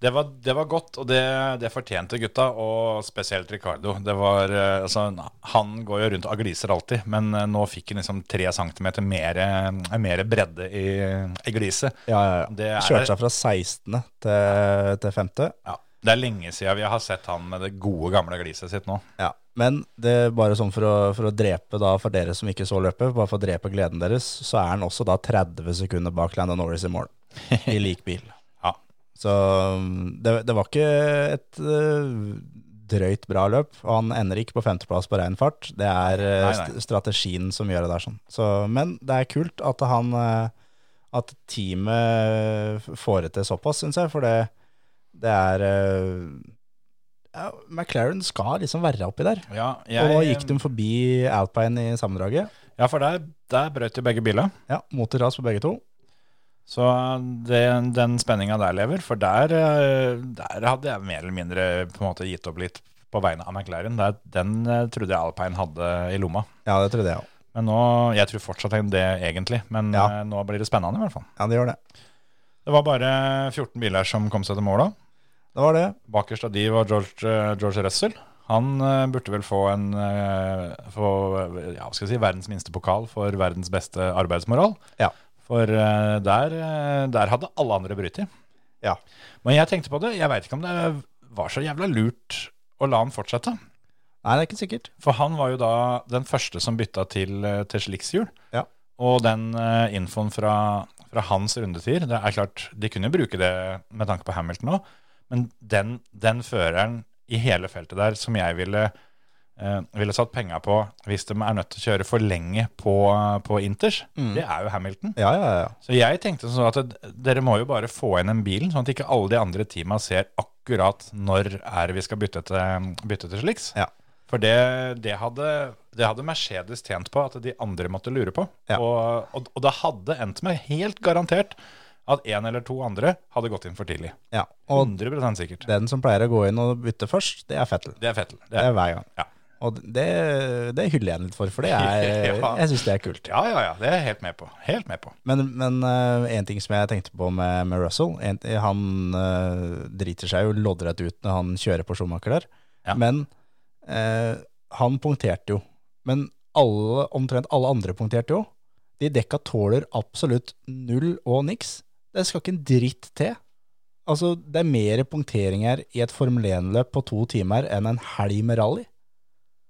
det var, det var godt, og det, det fortjente gutta, og spesielt Ricardo. Det var, eh, altså, han går jo rundt og gliser alltid, men eh, nå fikk han liksom tre centimeter mer, eh, mer bredde i, i gliset.
Ja, ja, ja.
Det er,
Kjørte seg fra 16. til, til 5.
Ja, det er lenge siden vi har sett han med det gode, gamle gliset sitt nå.
Ja, men det er bare sånn for å, for å drepe da, for dere som ikke så løpet, bare for å drepe gleden deres, så er han også da 30 sekunder bak Landon Norris i mål, i lik bil.
*laughs* Ja.
Så um, det, det var ikke et øh, drøyt bra løp, og han ender ikke på femteplass på ren fart. Det er øh,
Nei, nei.
st- strategien som gjør det der sånn. Så, men det er kult at han, øh, at teamet f- får det til såpass, synes jeg, for det, det er... øh, ja, McLaren skal liksom være oppi der
Ja,
og nå gikk de forbi Alpine i sammendraget.
Ja, for der, der brøt jo begge biler.
Ja, motorras på begge to.
Så det, den spenninga der lever, for der, eh, der hadde jeg mer eller mindre på en måte gitt opp litt på vegne av McLaren. Der, den eh, trodde jeg Alpine hadde i lomma.
Ja, det trodde jeg òg.
Men nå, Jeg tror fortsatt det egentlig, men
Ja.
eh, nå blir det spennende i hvert fall.
Ja, det gjør det.
Det var bare 14 biler som kom seg til mål da.
Det var det.
Bakerst av de var George, eh, George Russell. Han eh, burde vel få en eh, få, eh, ja, hva skal jeg si, verdens minste pokal for verdens beste arbeidsmoral.
Ja.
For eh, der, eh, der hadde alle andre brytt i.
Ja.
Men jeg tenkte på det, jeg veit ikke om det var så jævla lurt å la han fortsette.
Nei, det er ikke sikkert.
For han var jo da den første som bytta til, eh, til slikshjul.
Ja.
Og den eh, infoen fra, fra hans rundetider Det er klart, de kunne jo bruke det med tanke på Hamilton òg, men den, den føreren i hele feltet der som jeg ville, eh, ville satt penga på hvis de er nødt til å kjøre for lenge på, eh, på Inters, det er jo Hamilton.
Ja, ja, ja.
Så jeg tenkte sånn at d- dere må jo bare få inn en bil, sånn at ikke alle de andre teama ser akkurat når er vi skal bytte til, bytte til sliks.
Ja.
For det, det, hadde, det hadde Mercedes tjent på at de andre måtte lure på.
Ja.
Og, og, og det hadde endt med helt garantert at en eller to andre hadde gått inn for tidlig.
ja. Og
100 sikkert. Det,
den som pleier å gå inn og bytte først, det er Fettel.
er Fettel.
Det er hver gang.
Ja.
Og det, det hyller jeg ham litt for, for det er,
*laughs* Ja.
jeg syns det er kult.
ja, ja, ja. Det er jeg helt med på. Helt med på.
Men, men eh, en ting som jeg tenkte på med, med Russell en, Han eh, driter seg jo loddrett ut når han kjører på Schumacher der.
Ja.
Men eh, han punkterte jo. Men alle, omtrent alle andre punkterte jo. De dekka tåler absolutt null og niks. Det skal ikke en dritt til. Altså, det er mer punktering her i et Formel 1-løp på to timer enn en helg med rally.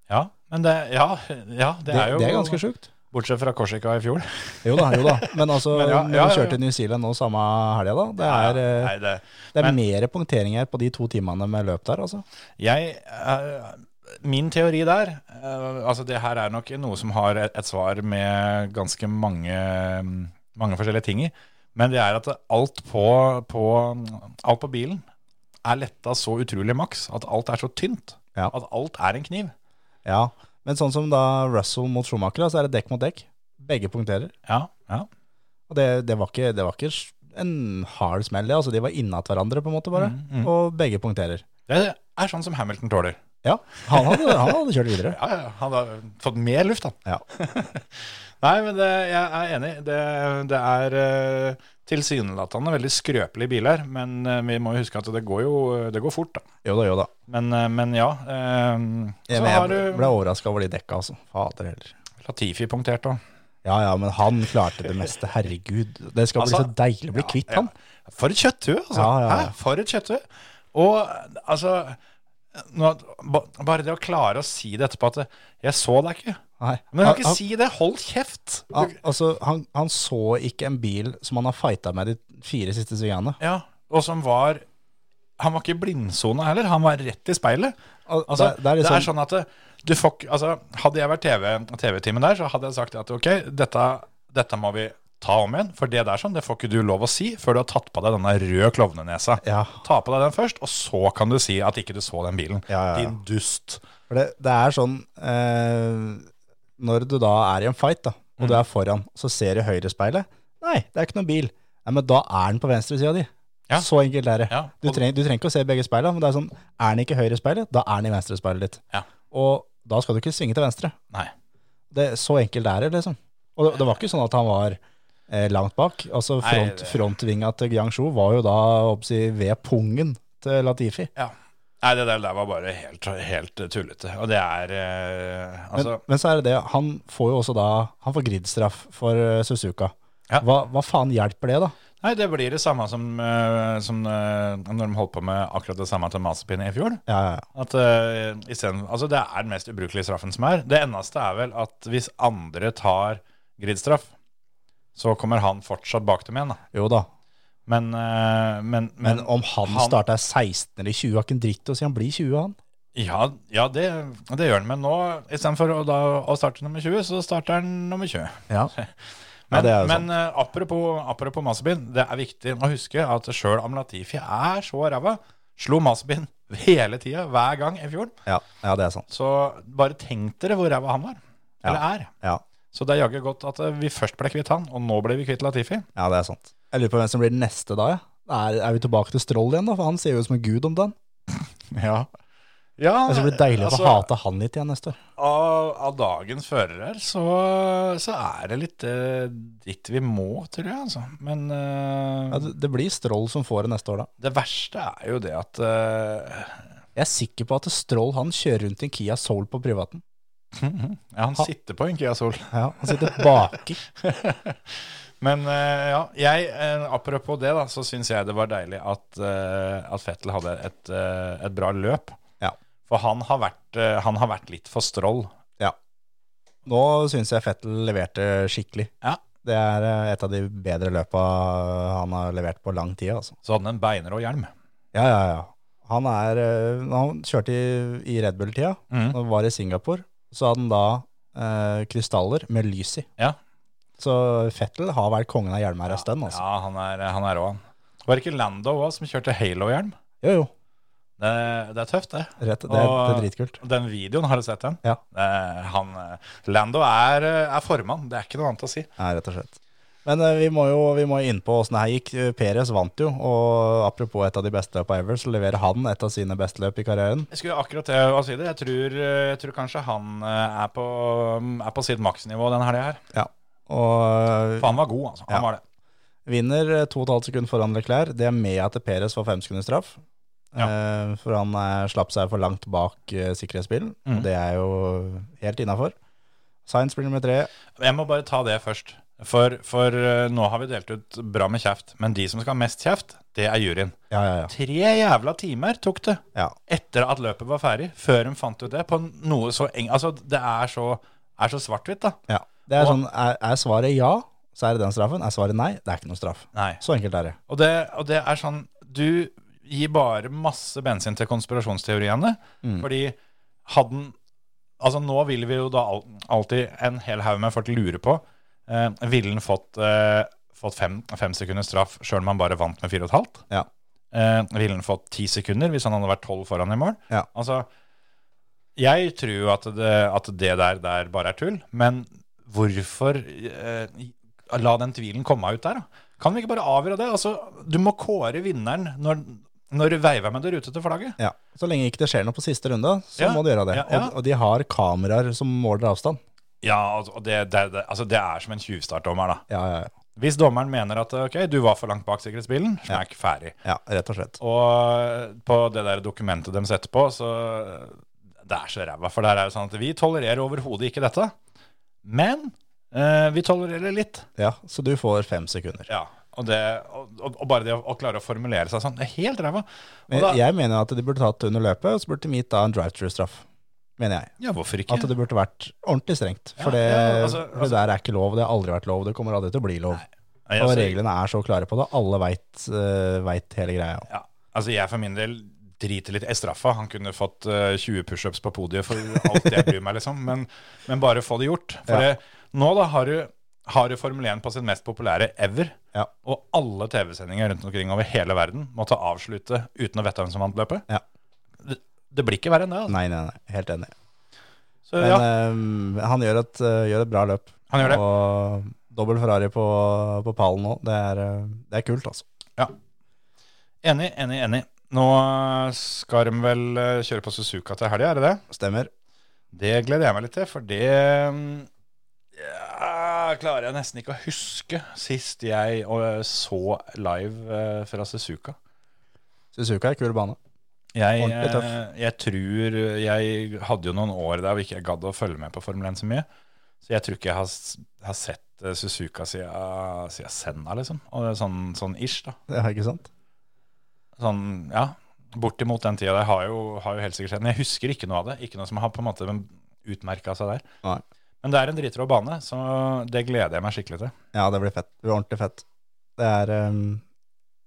Ja, men det, ja, ja, det,
Det, det
er jo
er ganske sjukt.
Bortsett fra Korsika i fjor.
Jo da, jo da.
*laughs*
Men altså,
Men ja, ja, ja,
når du
ja.
kjørte til New Zealand nå samme helga, da. Det er eh,
Nei, det,
Det er
Men-
mer punktering her på de to timene med løp der, altså.
Jeg, eh, min teori der eh, Altså, det her er nok noe som har et, et svar med ganske mange, mange forskjellige ting i. Men det er at alt på, på, alt på bilen er letta så utrolig maks at alt er så tynt.
Ja.
At alt er en kniv.
Ja, Men sånn som da Russell mot Schumacher, da, så er det dekk mot dekk. Begge punkterer.
Ja, ja.
Og det, det, var, ikke, det var ikke en hard smell, det. Altså, de var innat hverandre, på en måte, bare.
Mm,
Og begge punkterer.
Det er sånn som Hamilton tåler.
Ja, han hadde, han hadde kjørt videre.
*laughs* Ja, ja, Han har fått mer luft, han.
Ja.
*laughs* Nei, men det, jeg er enig. Det, det er eh, tilsynelatende veldig skrøpelige biler, men eh, vi må jo huske at det går jo det går fort, da.
Jo da, jo da.
Men, eh, men ja. Eh,
Jeg,
så
men
har
jeg
du
ble overraska over de dekka, altså. Fader heller.
Latifi punktert òg.
Ja ja, men han klarte det meste. Herregud. Det skal
Altså,
bli så deilig å bli kvitt han.
For et kjøtthue, altså.
Ja, ja, ja.
Hæ? For et kjøtthue. Og altså nå, ba- Bare det å klare å si det etterpå at eh, 'jeg så deg ikke'.
Nei.
Men du kan
Han-
ikke si det! Hold kjeft! Du,
han, altså, han, han så ikke en bil som han har fighta med de fire siste svingene.
Ja, og som var Han var ikke i blindsona heller, han var rett i speilet.
Al-
Altså, det,
det- det er
er
liksom-
sånn at det- du får ikke altså, Hadde jeg vært TV TV-timen der, så hadde jeg sagt at ok, dette, dette må vi ta om igjen. For det der sånn, det får ikke du lov å si før du har tatt på deg denne røde klovnenesa.
Ja.
Ta på deg den først, og så kan du si at ikke du så den bilen.
Ja, ja, ja.
Din dust.
For det, det er sånn eh, Når du da er i en fight, da, og
Mm.
du er foran, så ser du høyrespeilet. Nei, det er ikke noen bil. Nei, men da er den på venstresida di.
Ja.
Så enkelt er det.
Ja,
Du,
og-
trenger, du trenger ikke å se begge speilene, men det er sånn, er den ikke i høyrespeilet, da er den i venstrespeilet ditt.
Ja.
Og da skal du ikke svinge til venstre.
Nei.
Det, så enkelt er det, liksom. Og det, det var ikke sånn at han var eh, langt bak. Altså
Nei,
front,
det-
Frontvinga til Guangzhou var jo da oppsi, ved pungen til Latifi.
Ja. Nei, det der, der var bare helt, helt tullete. Og det er eh,
Men,
Altså
men så er det det, han får jo også da Han får gridstraff for eh, Suzuka.
Ja.
Hva, hva faen hjelper det, da?
Nei, det blir det samme som, eh, som eh, når de holdt på med akkurat det samme til Mazepin i fjor.
Ja, ja, ja.
At, eh, i stedet, altså det er den mest ubrukelige straffen som er. Det eneste er vel at hvis andre tar gridstraff, så kommer han fortsatt bak dem igjen. Da.
Jo da.
Men, eh, men,
Men, om han,
han-
starter 16 eller 20, har ikke en dritt å si. Han blir 20, han.
Ja, ja det, det gjør han. Men nå, istedenfor å, da- å starte nummer 20, så starter han nummer 20.
Ja.
Men,
det er jo
men eh, apropos, apropos Mazepin, det er viktig å huske at sjøl om Latifi er så ræva, slo Mazepin *laughs* hele tida, hver gang i fjor.
Ja, ja det er sant.
Så bare tenk dere hvor ræva han var.
Ja.
Eller er.
Ja,
Så det er jaggu godt at eh, vi først ble kvitt han, og nå ble vi kvitt Latifi.
ja det er sant. Jeg lurer på hvem som blir den neste da, ja. Er, er vi tilbake til Stroll igjen, da? For han ser jo ut som en gud om dagen.
Ja. ja
Det blir deilig å få
altså,
hate han litt igjen neste år.
Av, av dagens førere her, så, så er det litt eh, dit vi må, tror jeg. Altså. Men eh,
Ja, det, det blir Stroll som får det neste år, da.
det verste er jo det at eh, *laughs*
Jeg er sikker på at Stroll han kjører rundt i en Kia Soul på privaten.
ja, han sitter på en Kia Sol.
Ja, Han sitter baki.
*laughs* Men eh, ja, jeg, eh, apropos det, da, så syns jeg det var deilig at, eh, at Fettel hadde et, eh, et bra løp.
Ja.
For han har, vært, eh, han har vært litt for stroll.
Ja. Nå syns jeg Fettel leverte skikkelig.
Ja.
Det er eh, et av de bedre løpa han har levert på lang tid, altså.
Så hadde han en beinrå hjelm.
Ja, ja, ja. Han, er, eh, når han kjørte i, i Red Bull-tida,
Mhm.
og var i Singapore, så hadde han da eh, krystaller med lys i.
Ja.
Så Fettel har vært kongen av hjelmer en stund, altså.
Ja, han er, han er rå, han. Var det ikke Lando òg som kjørte halo-hjelm?
Jo, jo.
Det, det er tøft, det.
Rett, det, er, det
Og-
er dritkult.
Den videoen, har du sett den?
Ja.
Eh, han, eh, Lando er, eh, er formann, det er ikke noe annet å si.
Ja, rett og slett. Men eh, vi må jo vi må jo inn på åssen det her gikk. Eh, Perez vant jo, og apropos et av de beste løpa ever, så leverer han et av sine beste løp i karrieren.
Jeg skulle akkurat til å si det. Jeg tror, eh, jeg tror kanskje han eh, er på, er på sitt maksnivå den helga her.
Ja. Og eh,
For han var god, altså. Han
Ja.
var det.
vinner eh, to og et halvt sekund foran Leclerc. Det er med at Perez får fem sekunders straff. Eh, For han eh, slapp seg for langt bak eh, sikkerhetsbilen.
Mm.
Det er jo helt innafor. Science blir nummer tre.
Jeg må bare ta det først. For, for eh, nå har vi delt ut bra med kjeft, men de som skal ha mest kjeft, det er juryen.
Ja, ja, ja.
Tre jævla timer tok det
ja.
etter at løpet var ferdig, før de fant ut det. På noe så eng... Altså, det er så, er så svart-hvitt, da.
ja. Det er,
Og-
sånn, er, er svaret ja, så er det den straffen. Er svaret nei, det er ikke noe straff.
Nei.
Så enkelt er det.
Og det, og det er sånn Du gir bare masse bensin til konspirasjonsteoriene. Fordi hadde den Altså, nå vil vi jo da al- alltid en hel haug med folk lure på eh, Ville den fått, eh, fått fem, fem sekunder straff sjøl om han bare vant med fire og et halvt?
Ja.
Eh, ville han fått ti sekunder hvis han hadde vært tolv foran i mål?
Ja.
Altså, jeg tror jo at det, at det der, der bare er tull, men hvorfor eh, la den tvilen komme ut der, da? Kan vi ikke bare avgjøre det? Altså, du må kåre vinneren når, når du veiver med det rutete flagget.
Ja. Så lenge ikke det skjer noe på siste runde, så
Ja,
må du gjøre det.
ja, ja.
Og, og de har kameraer som måler avstand.
Ja, altså, og det, det, det, altså, det er som en tjuvstartdommer, da.
Ja, ja, ja.
Hvis dommeren mener at ok, du var for langt bak sikkerhetsbilen, smekk ferdig.
ja rett og slett.
Og eh, på det der dokumentet de setter på, så eh, Det er så ræva, for der er det sånn at vi tolererer overhodet ikke dette. Men eh, vi tolererer litt.
Ja, Så du får fem sekunder.
Ja. Og, det, og, og- og bare det å, å klare å formulere seg sånn, det er helt ræva. Og
Men
da-
jeg mener at de burde tatt under løpet, og så burde de gitt da en drive-through-straff. Mener jeg.
Ja, hvorfor ikke?
At det burde vært ordentlig strengt. For
Ja,
det,
ja, altså-
for det der er ikke lov, det har aldri vært lov, det kommer aldri til å bli lov.
Nei,
Og
altså,
reglene er så klare på det, alle veit hele greia.
Ja, altså jeg for min del driter litt i straffa. Han kunne fått eh, 20 pushups på podiet for alt jeg bryr meg, liksom. Men, men bare få det gjort. For
Ja.
det, nå da har du, har du Formel 1 på sin mest populære ever.
Ja.
Og alle TV-sendinger rundt omkring over hele verden måtte avslutte uten å vite hvem som vant løpet.
Ja.
Det, det blir ikke verre enn det. Altså.
Nei, nei, nei, helt enig.
Så
Men
ja,
eh, han gjør et, eh, gjør et bra løp.
han gjør det.
Og dobbel Ferrari på, på pallen nå. Det er, eh, det er kult, altså.
Enig, enig, enig. Nå skal de vel eh, kjøre på Suzuka til helga, er det det?
Stemmer.
Det gleder jeg meg litt til, for det mm, ja, klarer jeg nesten ikke å huske sist jeg og, så live eh, fra Suzuka.
Suzuka er kul bane. *laughs*
Jeg,
Ordentlig tøff.
eh, jeg tror Jeg hadde jo noen år der hvor ikke jeg gadd å følge med på Formel 1 så mye. Så jeg tror ikke jeg har, s- har sett eh, Suzuka siden, siden Senna, liksom. Og det er sånn, sånn ish, da.
Ja, ikke sant?
Sånn, ja. Bortimot den tida der har jo, har jo helt sikkert skjedd. Men jeg husker ikke noe av det. Ikke noe som har på en måte utmerka seg der.
Nei.
Men det er en dritrå bane, så det gleder jeg meg skikkelig til.
Ja, det blir fett. Det blir ordentlig fett. Det er eh,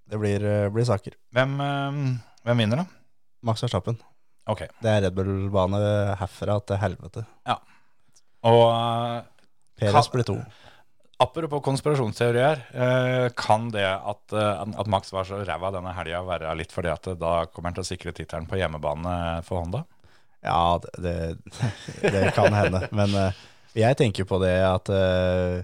Det blir, eh, blir saker.
Hvem, eh, hvem vinner, da?
Max Verstappen.
Ok.
Det er Red Bull-bane herfra til helvete.
Og
Perez
Kan-
blir to.
eh, apropos konspirasjonsteorier, eh, kan det at, eh, at Max var så ræva denne helga, være litt fordi at eh, da kommer han til å sikre tittelen på hjemmebane for Honda?
Ja, det, det, det kan
*laughs*
hende. Men eh, jeg tenker på det at, eh,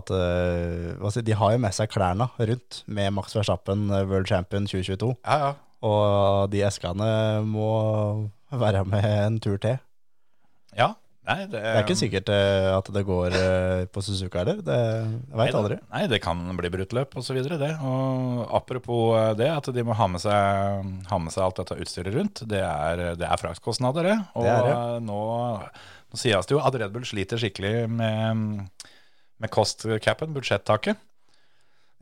at eh, hva skal jeg si, De har jo med seg klærne rundt med Max Verstappen eh, World Champion 2022.
Ja, ja.
Og de eskene må være med en tur til.
Ja. Nei, det,
Det er ikke sikkert eh, at det går eh, på Suzuka heller. Det, jeg veit aldri.
Nei, det kan bli brutt løp og så videre det. Og apropos eh, det, at de må ha med seg, ha med seg alt dette utstyret rundt, det er, det er fraktkostnader, det. Og
Det er det.
eh, Nå, nå sies det jo at Red Bull sliter skikkelig med, med cost-capen, budsjettaket.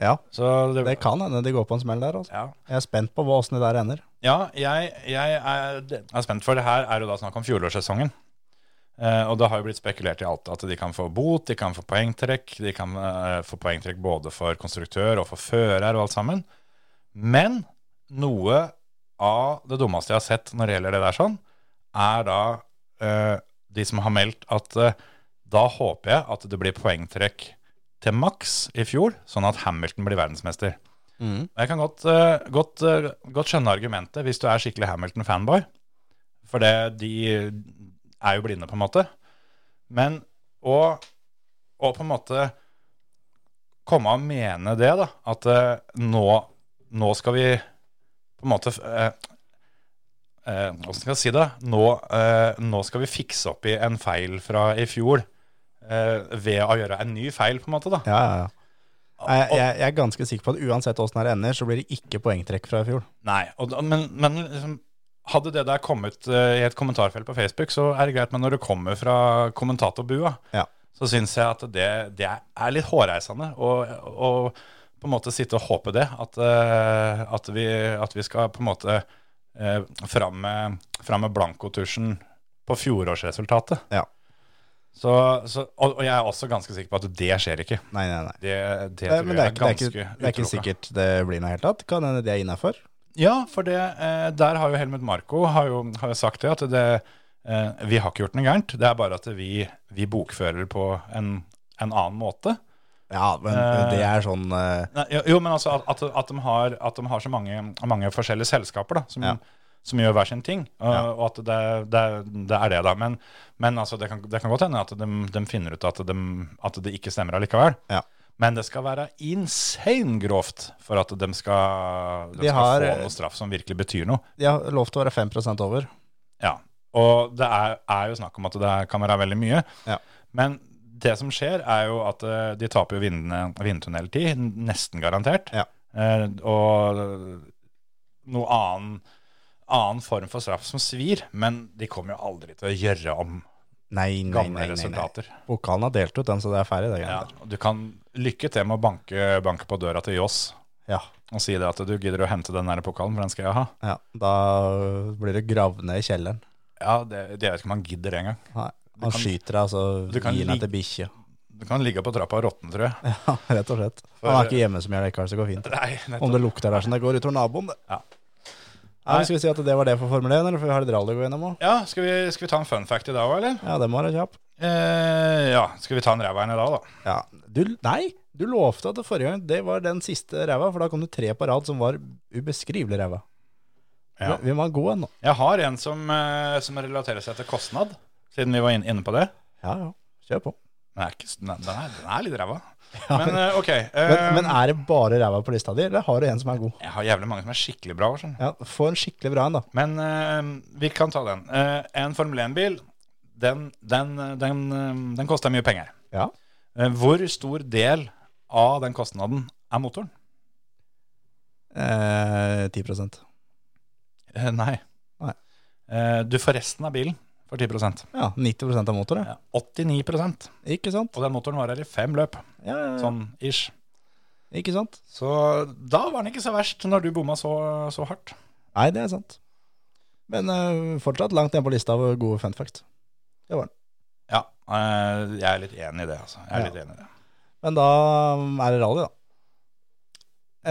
Ja,
Så det,
det kan hende de går på en smell der. Altså.
Ja,
Jeg er spent på åssen det der ender.
ja jeg, jeg er, er spent, for det her er jo da snakk om fjorårssesongen. Eh, og det har jo blitt spekulert i alt, at de kan få bot, de kan få poengtrekk, de kan eh, få poengtrekk både for konstruktør og for fører og alt sammen. Men noe av det dummeste jeg har sett når det gjelder det der sånn, er da eh, de som har meldt at eh, da håper jeg at det blir poengtrekk til maks i fjor, sånn at Hamilton blir verdensmester. Jeg kan godt, eh, godt, eh, godt skjønne argumentet hvis du er skikkelig Hamilton-fanboy, for det, de er jo blinde på en måte. Men å, å på en måte komme og mene det, da, at eh, nå, nå skal vi på en måte eh, eh, Hvordan skal jeg si det? Nå, eh, nå skal vi fikse opp i en feil fra i fjor eh, ved å gjøre en ny feil, på en måte. da.
Ja, ja, ja. Jeg, jeg, jeg er ganske sikker på at uansett åssen det ender, så blir det ikke poengtrekk fra i fjor.
Nei, og, da- men, men liksom, hadde det der kommet eh, i et kommentarfelt på Facebook, så er det greit, men når det kommer fra kommentatorbua,
Ja.
så syns jeg at det, det er litt hårreisende å, å på en måte sitte og håpe det. At, eh, at, vi, at vi skal på en måte eh, fram med, fram med blankotusjen på fjorårsresultatet.
Ja.
Så, så, og, og jeg er også ganske sikker på at det skjer ikke.
Nei, nei, nei.
Det, det
Det,
tror
men det
jeg
er,
er
ikke,
ganske
det, er ikke, det er ikke
utelukket.
sikkert det blir noe i det hele tatt. Kan hende det er innafor.
Ja, for det, eh, der har jo Helmut Marko har jo, har jo sagt det, at det, eh, vi har ikke gjort noe gærent. Det er bare at vi, vi bokfører på en, en annen måte.
Ja, men
Eh.
det er sånn eh,
Nei, jo- jo, men altså at, at, at, de, har, at de har så mange, mange forskjellige selskaper da, som,
Ja.
som gjør hver sin ting, og,
Ja.
og at det, det, det er det da. Men, men altså, det, kan, det kan godt hende at de, de finner ut at, de, at det ikke stemmer allikevel.
Ja.
Men det skal være insane grovt for at de skal, de
De
skal
har-
få noe straff som virkelig betyr noe.
De har lov til å være 5 over.
Ja, og det er, er jo snakk om at det kan være veldig mye.
Ja.
Men det som skjer er jo at eh, de taper jo vindene- vindtunneltid, n- nesten garantert.
Ja.
Eh, og noe annen, annen form for straff som svir, men de kommer jo aldri til å gjøre om
Nei, nei,
gamle
nei. nei, nei.
resultater.
Pokalen har delt ut den, så det er ferdig. Det
Ja,
ja.
og du kan lykke til med å banke, banke på døra til Joss
Ja,
og si det at du gidder å hente den der pokalen, for den skal jeg ha.
ja. Da blir det gravd ned i kjelleren.
Ja, det, det vet ikke om han gidder engang.
Nei, Han
kan-
skyter deg, og
Du
så
kan
gir han deg
ligge-
til bikkje.
Du kan ligge på trappa og råtne, tror jeg.
*laughs* Ja, rett og slett. Han er ikke hjemme så mye allikevel, så det går fint.
*laughs* Nei, nettopp.
Om det lukter der som det går utover naboen, det.
Ja.
Ja, men skal vi si at det var det for Formel 1, eller for vi har litt rally å gå gjennom òg?
Ja, skal vi, skal vi ta en fun fact i dag òg, eller?
Ja, det må være kjapp.
Eh, ja, skal vi ta en ræveren i dag, da?
Ja. Du, nei, du lovte at det forrige gang det var den siste ræva, for da kom det tre på rad som var ubeskrivelig ræva.
Ja.
Vi, vi må ha god en nå.
Jeg har en som, eh, som relaterer seg til kostnad, siden vi var inn- inne på det.
Ja, ja. Kjør på.
Den er, ikke, s- den er, den er- den er litt ræva. Men eh, ok.
*laughs* Men,
eh,
men er det bare ræva på lista di, eller har du en som er god?
jeg har jævlig mange som er skikkelig bra. Sånn.
Ja, Få en skikkelig bra en, da.
Men eh, vi kan ta den. Eh, en Formel 1-bil, den, den, den, eh, den koster mye penger.
Ja.
Eh, hvor stor del av den kostnaden er motoren?
Eh, 10
Eh, nei.
Nei.
Eh, du får resten av bilen for 10
Ja, 90 av motoren, ja.
Ja, 89
Ikke sant?
Og den motoren var her i fem løp,
Ja, ja, ja.
sånn ish. Sånn.
Ikke sant?
Så da var den ikke så verst, når du bomma så, så hardt.
Nei, det er sant. Men eh, fortsatt langt ned på lista over gode fun facts.
Ja, eh, jeg er litt enig i det, altså. Jeg er
Ja.
litt enig i det.
Men da mm, er det rally, da.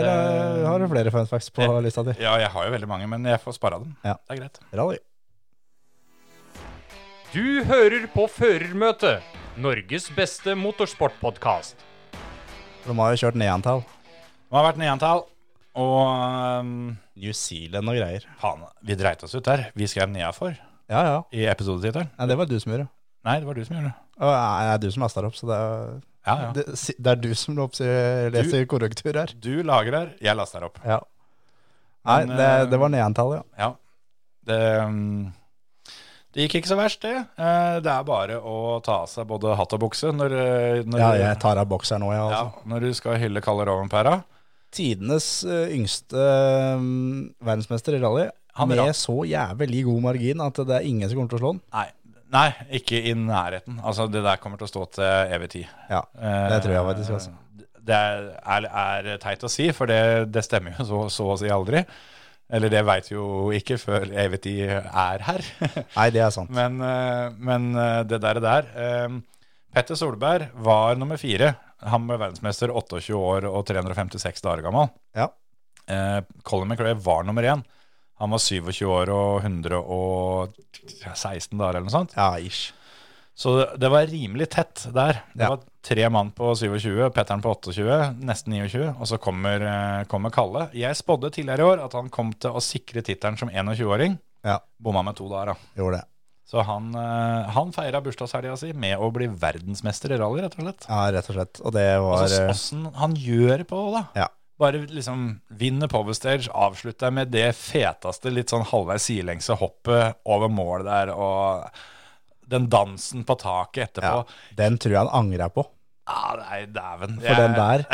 Eller
Det-
har du flere fun facts på
Eh,
lista di?
Ja, jeg har jo veldig mange, men jeg får spara dem.
Ja.
Det er greit.
Rally.
Du hører på Førermøtet, Norges beste motorsportpodkast.
For de har jo kjørt nedantall.
Det har vært nedantall, og ehm,
New Zealand og greier.
faen, vi dreit oss ut der. Vi skrev nedafor
Ja, ja.
i episodetittelen.
Nei, det var du som gjorde.
Nei, det var du som gjorde det.
Og eh, det er du som lasta opp, så det er,
Ja, ja.
det, si- det er du som oppsi- leser korrektur her.
Du lagrer, jeg laster opp.
Ja. Nei,
Men,
det,
eh,
det var nedantall, ja.
Ja. Det, mm, det gikk ikke så verst, det. Eh, Det er bare å ta av seg både hatt og bukse når, eh, når,
Ja, jeg tar av bokseren nå, ja. Altså.
ja, når du skal hylle Kalle Rovenpæra.
Tidenes eh, yngste eh, verdensmester i rally.
Han
med
ra-
så jævlig god margin at det er ingen som kommer til å slå han.
Nei, nei, ikke i nærheten. Altså, det der kommer til å stå til evig tid. Eh,
Ja, det tror jeg faktisk. Altså.
Det er, er, er teit å si, for det, det stemmer jo så, så å si aldri. Eller det veit vi jo ikke før evig tid er her.
Nei, det er sant.
Men, eh, men eh, det der, det der eh, Petter Solberg var nummer fire. Han ble verdensmester 28 år og 356 dager gammel.
Ja.
Eh, Colin McRae var nummer én. Han var 27 år og 116 dager eller noe sånt.
Ja, ish.
Så det- det var rimelig tett der. Det
Ja.
var tre mann på 27, Petteren på 28, nesten 29, og så kommer, eh, kommer Kalle. Jeg spådde tidligere i år at han kom til å sikre tittelen som 21-åring.
Ja,
Bomma med to dager, da.
gjorde det.
Så han, eh, han feira bursdagshelga si med å bli verdensmester i rally, rett og slett.
Ja, rett og slett. Og det var
Altså
eh,
åssen han gjør på det, da.
Ja.
Bare liksom vinner power stage, avslutter med det feteste, litt sånn halvveis sidelengse hoppet over mål der, og den dansen på taket
ja,
etterpå.
Den tror jeg han angra på,
Ah, nei, dæven.
for
*laughs*
den der.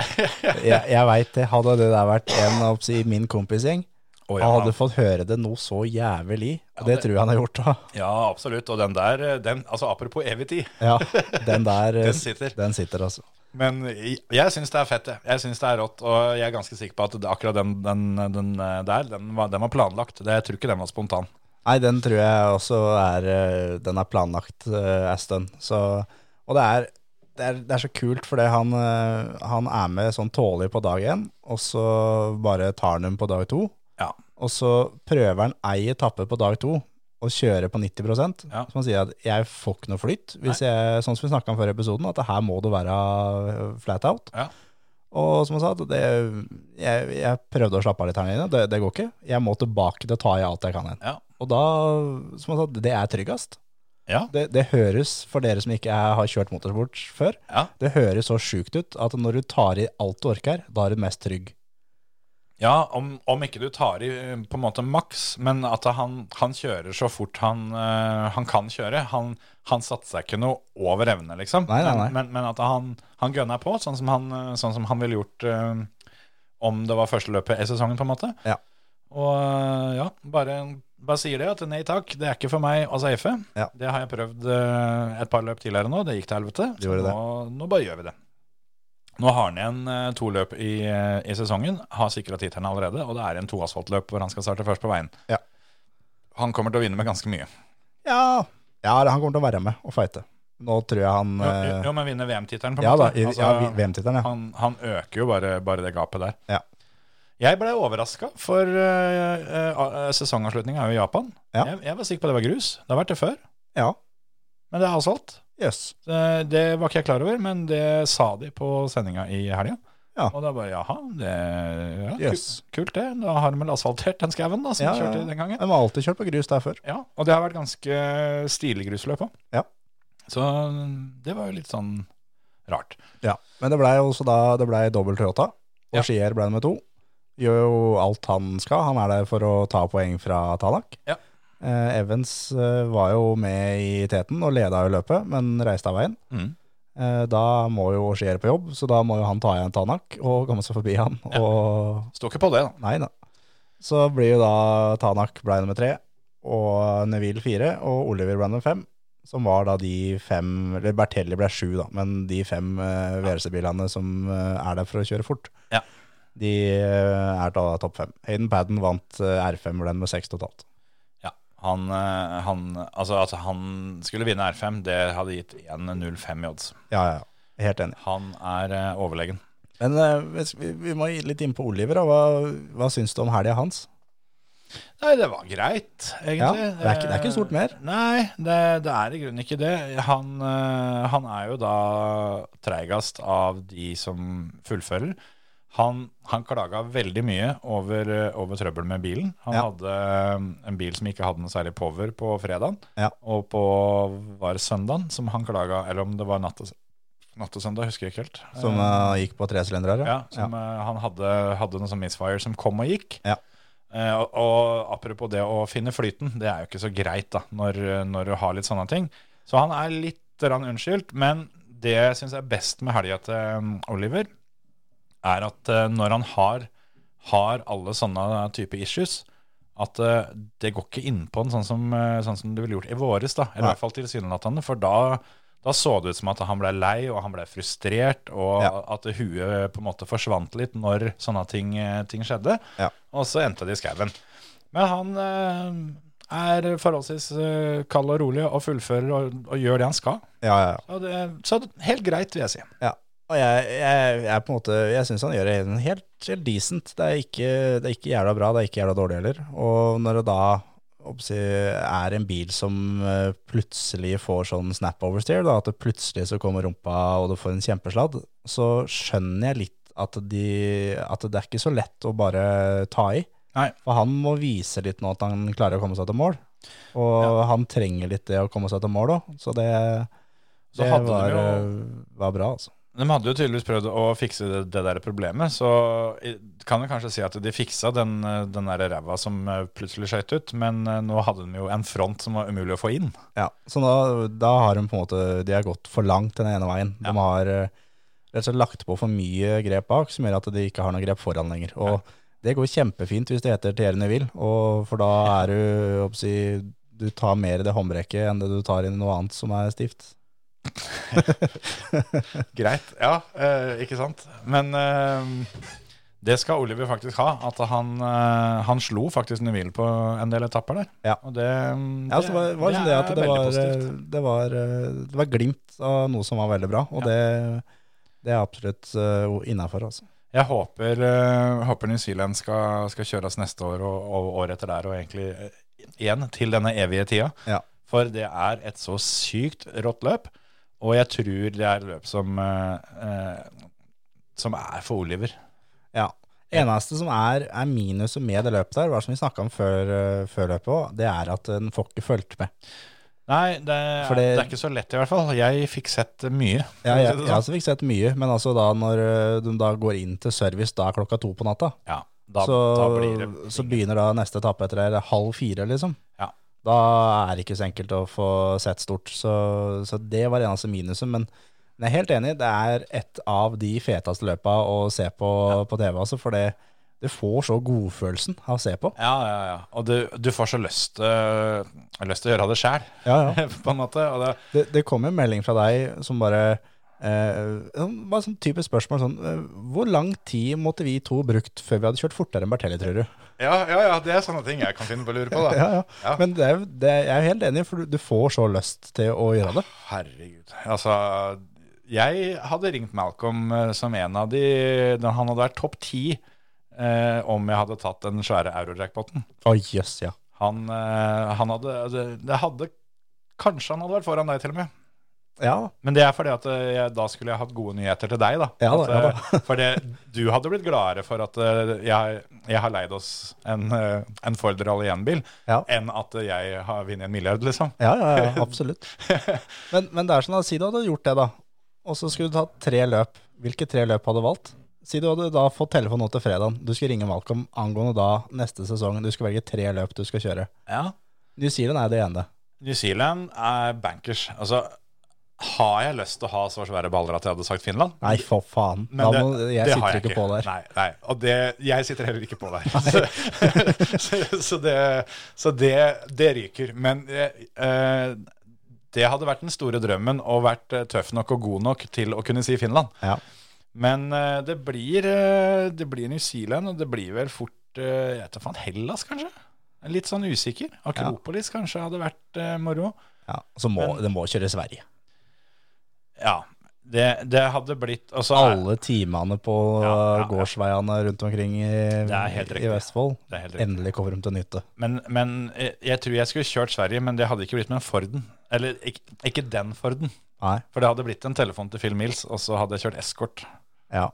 Jeg, jeg veit det. Hadde det der vært en av si, min kompisgjeng,
Å,
han
ja,
hadde fått høre det noe så jævlig. Og det
det-
tror jeg han har gjort, da.
ja, absolutt. Og den der, eh, den, altså apropos evig tid.
Ja, den der eh,
*laughs* Den sitter.
Den sitter, altså.
Men jeg, jeg syns det er fett, jeg. Jeg syns det er rått. Og jeg er ganske sikker på at det, akkurat den, den, den eh, der, den var, den var planlagt. Det, jeg tror ikke den var spontan.
Nei, den tror jeg også er eh, Den er planlagt eh, en stund. Så, og det er, det, er, det er så kult, fordi han, eh, han er med sånn tålig på dag én, og så bare tar han dem på dag to.
Ja.
Og så prøver han ei etappe på dag to og kjører på 90
Ja.
Så han sier at 'jeg får ikke noe flyt', hvis jeg, sånn som vi snakka om før i episoden, at det her må det være eh, flat out.
Ja.
Og som han sa, det, jeg, jeg prøvde å slappe av litt her nede, det, det går ikke. Jeg må tilbake til å ta i alt jeg kan igjen.
Ja.
Og da, som han sa, det er tryggest.
Ja.
Det, det høres, for dere som ikke er, har kjørt motorsport før,
Ja.
det høres så sjukt ut at når du tar i alt du orker, da er du mest trygg.
Ja, om, om ikke du tar i eh, på en måte maks, men at han, han kjører så fort han, eh, han kan kjøre. Han, han satte seg ikke noe over evne, liksom.
Nei, nei, nei.
Men, men at han, han gønna på, sånn som han, eh, sånn som han ville gjort eh, om det var første løpet i sesongen, på en måte.
Ja.
Og eh, ja, bare, bare sier det, at nei takk, det er ikke for meg å safe.
Ja.
Det har jeg prøvd eh, et par løp tidligere nå, det gikk til helvete.
Det gjorde det.
nå, nå bare gjør vi det. Nå har han igjen eh, to løp i, eh, i sesongen, har sikra tittelen allerede, og det er en toasfaltløp hvor han skal starte først på veien.
Ja.
Han kommer til å vinne med ganske mye.
Ja, ja han kommer til å være med og fighte. Nå tror jeg han
Jo,
eh,
jo men vinne VM-tittelen, på en
Ja da,
måte.
i-
Altså,
ja, vi- VM-tittelen, ja.
han, han øker jo bare, bare det gapet der.
Ja.
Jeg ble overraska, for uh, sesongavslutninga er jo i Japan.
Ja.
Jeg, jeg var sikker på det var grus. Det har vært det før,
Ja,
men det er asfalt.
jøss.
Eh, Det var ikke jeg klar over, men det sa de på sendinga i helga.
Ja.
Og da bare jaha, det ja, ku-
Yes.
kult det. Da har de vel asfaltert den skauen da, som
Ja,
de
ja,
kjørte
ja.
den gangen.
De har alltid kjørt på grus der før.
Ja, Og det har vært ganske stilig grusløp òg.
Ja.
Så det var jo litt sånn rart.
Ja, men det blei også da Det blei dobbelt Toyota, og
Ja.
Skier blei nummer to. Gjør jo alt han skal. Han er der for å ta poeng fra Tanak.
Ja.
Eh, Evans eh, var jo med i teten og leda jo løpet, men reiste av veien.
Mm.
Eh, da må jo Skier på jobb, så da må jo han ta igjen Tanak og komme seg forbi han. Og
Står ikke på det, da.
Nei da. Så blir jo da Tanak ble nummer tre, og Neville fire, og Oliver ble nummer fem. Som var da de fem, eller Bertelli ble sju, da, men de fem uh, VRC-bilene som eh, er der for å kjøre fort,
Ja.
de eh, er da topp fem. Hayden Padden vant eh, R5, ble nummer seks totalt.
Ja. Han, eh, han, altså, at han skulle vinne R5, det hadde gitt 1,05 i odds.
Ja, ja, ja. Helt enig.
Han er eh, overlegen.
Men eh, hvis vi, vi må litt inn på Oliver. Da. Hva, hva syns du om helga hans?
Nei, det var greit, egentlig.
Ja, det er ikke- det er ikke stort mer.
Eh, Nei, det, det er i grunnen ikke det. Han, eh, han er jo da treigast av de som fullfører. Han, han klaga veldig mye over, eh, over trøbbel med bilen. Han
Ja.
hadde eh, en bil som ikke hadde noe særlig power på fredagen,
Ja.
og på var det søndagen som han klaga, eller om det var natt og, natt og søndag, husker jeg ikke helt.
Som
Eh,
eh, gikk på tresylindere?
ja, som eh, han hadde, hadde noe sånn misfire som kom og gikk.
Ja.
Eh, og, og apropos det å finne flyten, det er jo ikke så greit da, når, når du har litt sånne ting. Så han er litt grann unnskyldt, men det jeg syns er best med helga til mm, Oliver, er at eh, når han har, har alle sånne type issues, at eh, det går ikke innpå den sånn som, eh, sånn som det ville gjort i våres, da. Eller i
Nei.
hvert fall tilsynelatende, for da, da så det ut som at han ble lei, og han ble frustrert, og
Ja.
at huet eh, på en måte forsvant litt når sånne ting, eh, ting skjedde.
Ja.
Og så endte det i skauen. Men han eh, er forholdsvis eh, kald og rolig og fullfører og, og gjør det han skal.
ja, ja, ja.
Og det, så helt greit, vil jeg si.
Ja, Og jeg, jeg, jeg på en måte Jeg syns han gjør det helt, helt decent. Det er, ikke, det er ikke jævla bra, det er ikke jævla dårlig heller. Og når det da oppsi, er en bil som eh, plutselig får sånn snap oversteer, da, at det plutselig så kommer rumpa og du får en kjempesladd, så skjønner jeg litt at, de, at det er ikke så lett å bare ta i.
Nei.
For han må vise litt nå at han klarer å komme seg til mål. Og han trenger litt det å komme seg til mål òg, så det,
Så
det
hadde de
var,
jo-
eh, var bra, altså.
De hadde jo tydeligvis prøvd å fikse det, det der problemet, så i- kan vi kanskje si at de fiksa den, eh, den der ræva som eh, plutselig skøyt ut, men eh, nå hadde de jo en front som var umulig å få
*laughs*
inn.
Ja, så da, da har de på en måte De har gått for langt den ene veien. De har eh, rett og slett lagt på for mye grep bak, som gjør at de ikke har noe grep foran lenger. Og det går kjempefint hvis det heter Tierene vil, og for da er du jeg håper å si, Du tar mer i det håndbrekket enn det du tar i noe annet som er stivt.
Greit, ja, eh, ikke sant? Men eh, det skal Oliver faktisk ha, at han, eh, han slo faktisk Neville på en del etapper der.
Ja.
Og det, mm,
Ja, så det var, var sånn det
er
at det
veldig
var,
positivt.
eh, det, var, eh, det var glimt av noe som var veldig bra, og det, det er absolutt uh, innafor. Altså.
Jeg håper, eh, håper New Zealand skal, skal kjøres neste år og, og året etter der, og egentlig eh, igjen til denne evige tida.
Ja.
For det er et så sykt rått løp, og jeg tror det er løp som, eh, eh, som er for Oliver.
Ja. Eneste som er, er minuset med det løpet der, var som vi snakka om før, eh, før løpet òg, det er at en får ikke fulgt med.
Nei, det,
For
det,
det-
er ikke så lett i hvert fall. Jeg fikk sett mye.
Ja,
for å
jeg,
si det
jeg
sånn.
har også fikk sett mye, men altså da når eh, de da går inn til service da klokka to på natta,
Ja, da,
så,
da blir det
så begynner da neste etappe etter det, det er halv fire, liksom.
Ja.
Da er det ikke så enkelt å få sett stort, så, så det var eneste minuset. Men jeg er helt enig, det er et av de feteste løpa å se på på TV, altså, for det, du får så godfølelsen av å se på.
Ja, ja, ja. Og du, du får så lyst, eh, lyst til å gjøre det sjæl,
Ja, *laughs* ja.
*laughs* på en måte. Og det,
Det, det kom en melding fra deg som bare eh, sånn- Bare sånn type spørsmål sånn eh, Hvor lang tid måtte vi to brukt før vi hadde kjørt fortere enn Bertelli, tror du?
ja, ja, ja, det er sånne ting jeg kan finne på å lure på, da.
Ja, ja.
*laughs* Ja.
Men det, er jo- det, jeg er helt enig, for du, du får så lyst til å gjøre det.
Herregud. Altså, jeg hadde ringt Malcolm eh, som en av de da Han hadde vært topp ti eh, om jeg hadde tatt den svære eurojackpoten.
Å jøss, ja.
Han, eh, han hadde det, det hadde Kanskje han hadde vært foran deg, til og med.
Ja,
Men det er fordi at eh, jeg, da skulle jeg hatt gode nyheter til deg, da.
Ja da,
at,
ja da.
eh, for det, du hadde blitt gladere for at eh, jeg, jeg har leid oss en, eh, en Ford Rally 1-bil,
Ja.
enn at jeg har vunnet en milliard, liksom. *laughs*
ja, ja, ja absolutt. Men, men det er sånn at si du hadde gjort det, da. Og så skulle du tatt tre løp. Hvilke tre løp hadde du valgt? Si du hadde da fått telefon nå til fredagen. Du skulle ringe Malcolm angående da neste sesong. Du skulle velge tre løp du skal kjøre.
Ja.
New Zealand er det ene.
New Zealand er bankers. Altså, har jeg lyst til å ha så svære baller at jeg hadde sagt Finland?
Nei, for faen.
Men
da
det-
må, jeg
det har
sitter ikke på der.
Nei, nei. Og det, jeg sitter heller ikke på der. Så, *laughs* så, så, det, så det, det ryker. Men eh, det hadde vært den store drømmen å vært eh, tøff nok og god nok til å kunne si Finland.
Ja.
Men eh, det, blir, eh, det blir New Zealand, og det blir vel fort eh, jeg vet da faen, Hellas, kanskje? Jeg er Litt sånn usikker. Akropolis kanskje hadde vært eh, moro.
Ja, så må, det må kjøre Sverige.
Ja, det, det hadde blitt altså,
Alle timene på
Ja, ja, ja.
gårdsveiene rundt omkring i,
er helt
i
riktig.
Vestfold.
Det er helt riktig.
Endelig kommer de til nytte.
Men, men jeg, jeg tror jeg skulle kjørt Sverige, men det hadde ikke blitt med en Forden. Eller ikke, ikke den Forden,
Nei,
for det hadde blitt en telefon til Phil Mills, og så hadde jeg kjørt eskort.
ja.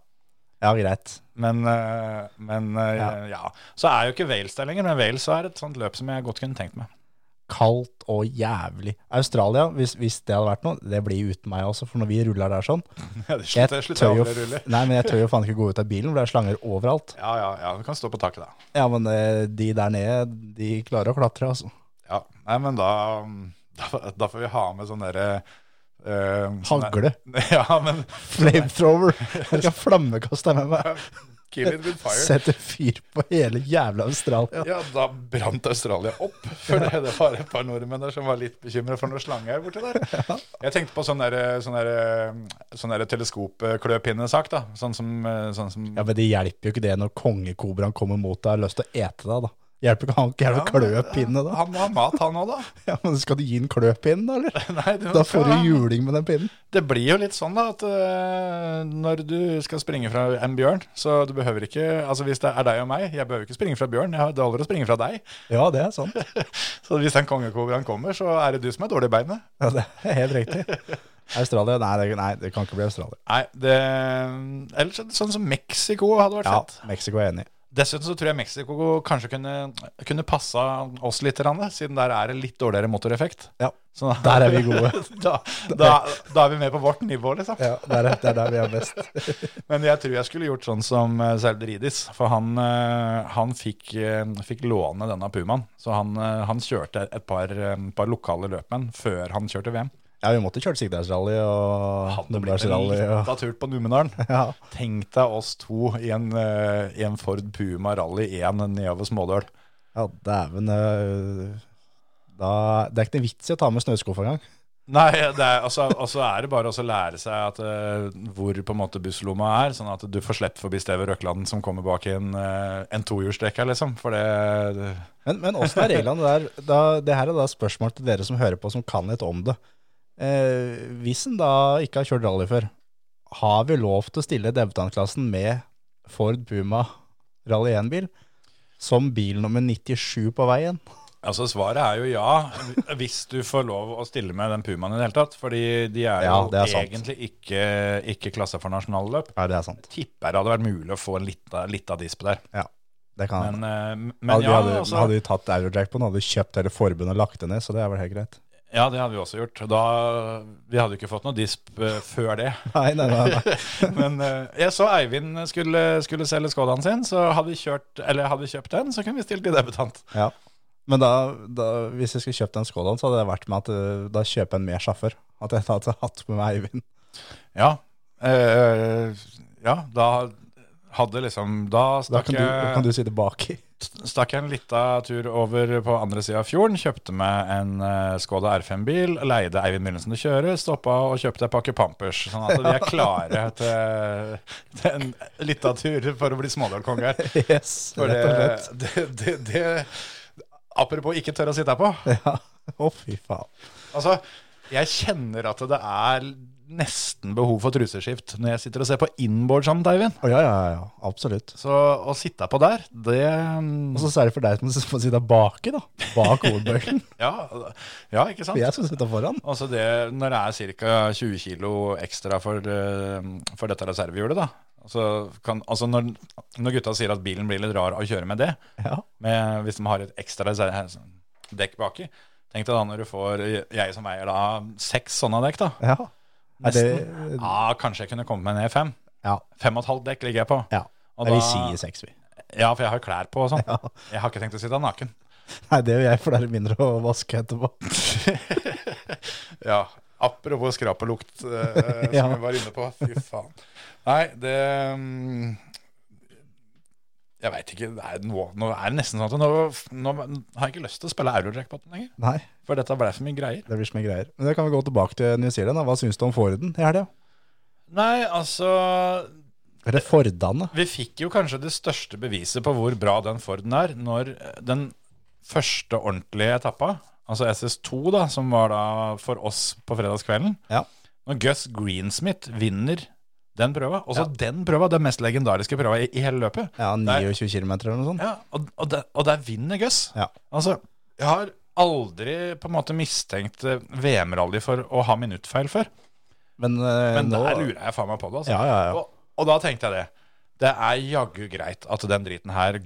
Ja, greit.
Men, eh, men eh, ja. Så er jo ikke Wales der lenger, men Wales er et sånt løp som jeg godt kunne tenkt meg. *laughs*
Kaldt og jævlig. Australia, hvis, hvis det hadde vært noe, det blir uten meg også, for når vi ruller der sånn
Ja, det
Jeg
slutter, slutter
tør jo,
aldri å rulle.
f- nei, men jeg tør jo faen ikke gå ut av bilen, for det er slanger overalt.
Ja, ja, ja, du kan stå på taket da.
Ja, men eh, de der nede, de klarer å klatre, altså.
Ja, nei, men da, mm, *laughs* da, da får vi ha med sånn derre eh, sånn der-
Hagle.
*laughs* Ja, men
Flamethrower. Jeg skal flammekaste med meg.
kill it with fire.
Setter fyr på hele jævla Australia.
Ja, da brant Australia opp. For det, det var et par nordmenn der som var litt bekymra for noen slanger borti der. Jeg tenkte på sånn derre sånn der, sånn der teleskopkløpinnesak, da. Sånn som, eh, sånn som
Ja, Men det hjelper jo ikke det når kongekobraen kommer mot deg og har lyst til å ete deg, da. Hjelper ikke han ikke å klø pinne da?
Han må ha mat, han òg,
*laughs*
da.
Ja, men Skal du gi en kløpinn, da? eller?
Nei, det,
Da får du juling med den pinnen.
det blir jo litt sånn da at eh, når du skal springe fra en bjørn, så du behøver ikke Altså hvis det er deg og meg, jeg behøver ikke springe fra bjørn, jeg har- det holder å springe fra deg. *laughs*
Ja, det er sant.
Så hvis den kongekobraen kommer, så er det du som er dårlig i beinet.
Ja, det er helt riktig. Australia? Nei, det, nei, det kan ikke bli Australia.
Nei, det Eller så- sånn som Mexico hadde vært
Ja,
fett.
Mexico er enig.
Dessuten så tror jeg Mexico kanskje kunne, kunne passa oss litt, grann, siden der er det litt dårligere motoreffekt.
Ja,
Så da-
Der er vi
*laughs*
gode.
da, da, da er vi med på vårt nivå, liksom.
*laughs* Ja, det er, det er der vi er best.
Men jeg tror jeg skulle gjort sånn som eh, Sauderidis. For han, eh, han fikk, eh, fikk låne denne pumaen. Så han, eh, han kjørte et par, eh, par lokale løpmenn før han kjørte VM.
Ja, vi måtte kjørt Sigdalsrally og
Hadde blitt en
Numedalsrally. og-
lita tur på Numedalen.
Ja.
Tenk deg oss to i en, eh, i en Ford Puma Rally 1 nedover Smådøl.
ja, dæven. øh, Da, det er ikke noe vits i å ta med snøskuff engang.
Nei, det er, altså, altså er det bare å lære seg at, eh, hvor på en måte busslomma er, sånn at du får slippe forbi Steve Røkland som kommer bak i en, uh, en tohjulstrekker, liksom. For det, det
Men, men åssen er reglene der? Da, det her er da spørsmål til dere som hører på, som kan litt om det. Eh, hvis en da ikke har kjørt rally før, har vi lov til å stille debutantklassen med Ford Puma Rally 1-bil som bil nummer 97 på veien?
Altså Svaret er jo ja, hvis du får lov å stille med den pumaen i det hele tatt. Fordi de er jo
Ja, det er sant.
egentlig ikke, ikke klassa for nasjonale løp.
Ja, det er sant.
Tipper det hadde vært mulig å få en lita, lita disp der.
Ja, det kan
Men, eh,
ja,
men
vi
ja,
hadde,
altså,
hadde vi tatt Eurojack på den, hadde vi kjøpt hele forbundet og lagt det ned, så det er vel helt greit.
ja, det hadde vi også gjort. Da, vi hadde jo ikke fått noe disp eh, før det. *laughs*
Nei, nei, nei. nei.
Men eh, jeg så Eivind skulle, skulle selge Skodaen sin, så hadde vi, kjørt, eller hadde vi kjøpt den, så kunne vi stilt i debutant.
Ja. Men da, da, hvis jeg skulle kjøpt den skålen, så hadde det vært med at eh, da kjøper jeg en mer sjaffer. At jeg hadde hatt med meg Eivind.
Ja, eh, ja da hadde liksom Da
Da
stakk
kan du,
jeg-
kan du sitte
*laughs*
baki.
stakk jeg en lita tur over på andre sida av fjorden, kjøpte meg en eh, Skoda R5-bil, leide Eivind Myhrensen å kjøre, stoppa og kjøpte en pakke Pampers. Sånn at vi er
*laughs*
klare til, til en lita tur for å bli smådølkonge her.
Yes,
For
rett og slett.
det, det, det, det Apropos ikke tørre å sitte her på.
Ja. Å, fy faen.
Altså, jeg kjenner at det er nesten behov for truseskift når jeg sitter og ser på inboard sammen med Eivind.
Å, ja, ja, ja. Absolutt.
Så å sitte på der, det
Og så særlig for deg som må sitte baki, da. Bak ordbøken.
*laughs* Ja, ja ikke sant?
Jeg skal sitte foran.
Altså det, når det er ca. 20 kilo ekstra for, eh, for dette reservehjulet, da. Altså, kan, altså når, når gutta sier at bilen blir litt rar av å kjøre med det,
Ja.
med, hvis de har et ekstra reserve, dekk baki Tenk deg da når du får, jeg som veier da, seks sånne dekk, da.
ja. Er det,
Nesten. Ja, kanskje jeg kunne kommet med ned fem.
ja.
Fem og et halvt dekk ligger jeg på.
ja.
Og
Nei, vi
da-
sier seks, vi.
Ja, for jeg har klær på og sånn.
*laughs* Ja.
Jeg har ikke tenkt å sitte naken.
Nei, det gjør jeg, for det er mindre å vaske etterpå.
Ja, apropos skrapelukt eh,
Ja.
som vi var inne på. Fy faen. Nei, det mm, Jeg veit ikke. Det er nå, nå er det nesten sånn at nå, nå har jeg ikke lyst til å spille Eurojackpoten lenger.
Nei,
For dette ble for mye greier.
det blir så mye greier. Men det kan vi gå tilbake til New Zealand. da. Hva syns du om Forden i helga?
Nei, altså
Eller Fordane?
Vi fikk jo kanskje det største beviset på hvor bra den Forden er, når den første ordentlige etappa, altså SS2, da, som var da for oss på fredagskvelden,
Ja.
Når Gus Greensmith vinner den prøva, også den prøva, den mest legendariske prøva i, i hele løpet.
Ja,
Der-
29 km eller noe sånt.
ja, og, og, der, og der vinner Gus.
Ja.
Altså, jeg har aldri på en måte mistenkt eh, VM-rally for å ha minuttfeil før.
Men, eh,
Men
nå
der lurer jeg faen meg på det. Altså.
Ja, ja, ja.
Og, og da tenkte jeg det. Det er jaggu greit at den driten her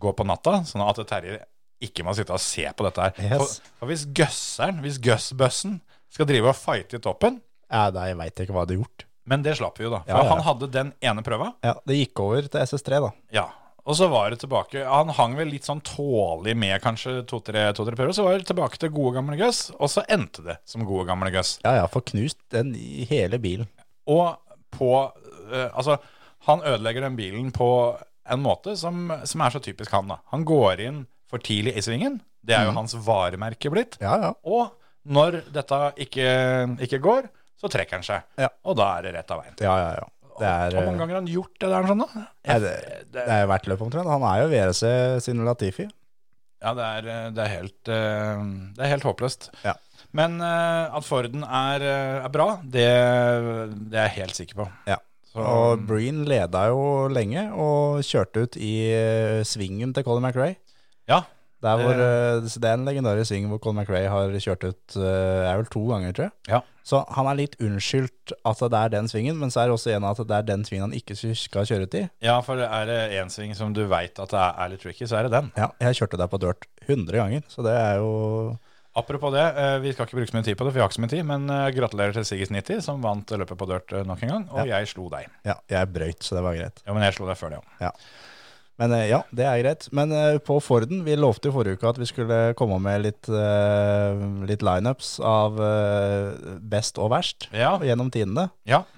går på natta, sånn at Terje ikke må sitte og se på dette her.
Yes.
For, for hvis gøsseren, hvis gøssbøssen, skal drive og fighte i toppen
ja, Nei, jeg veit ikke hva du har gjort.
Men det slapp vi jo, da. For
Ja, ja.
han hadde den ene prøva.
Ja, Det gikk over til SS3, da.
Ja. Og så var det tilbake Han hang vel litt sånn tålig med kanskje to-tre to, tre prøver. Så var det tilbake til gode, gamle Gus, og så endte det som gode, gamle Gus.
Ja ja, for knust den i hele bilen.
Og på eh, Altså, han ødelegger den bilen på en måte som, som er så typisk han, da. Han går inn for tidlig i svingen. Det er jo hans varemerke blitt.
Mhm. Ja ja.
Og når dette ikke, ikke går, så trekker han seg.
Ja.
Og da er det rett av veien.
Ja, ja, ja. Det er,
Hvor mange ganger har han gjort det der sånn, da?
eh, nei, det, det er jo hvert løp omtrent. Han er jo VRC sin Latifi.
Ja, det er, eh, det er, helt, eh, det er helt håpløst.
Ja.
Men eh, at Forden er, eh, er bra, det, det er jeg helt sikker på.
Ja.
Så,
Og Breen leda jo lenge og kjørte ut i eh, svingen til Colin McRae.
ja,
Der hvor,
Det-
eh, så det er en legendarisk sving hvor Colin McRae har kjørt ut eh, er vel to ganger, tror jeg.
ja.
Så han er litt unnskyldt at det er den svingen, men så er det også en av at det er den svingen han ikke skal kjøre ut i.
ja, for er det én sving som du veit at det er, er litt tricky, så er det den.
Ja, jeg kjørte der på dirt 100 ganger, så det er jo
Apropos det, eh, vi skal ikke bruke så mye tid på det, for vi har ikke så mye tid, men eh, gratulerer til Sigis 90, som vant løpet på dirt eh, nok en gang, og jeg slo deg.
Ja, jeg brøyt, så det var greit.
Ja, men jeg slo deg før det òg.
Men eh, ja, det er greit. Men eh, på Forden, vi lovte jo forrige uke at vi skulle komme med litt, eh, litt lineups av eh, best og verst
Ja,
gjennom tidene.
ja.
Eh,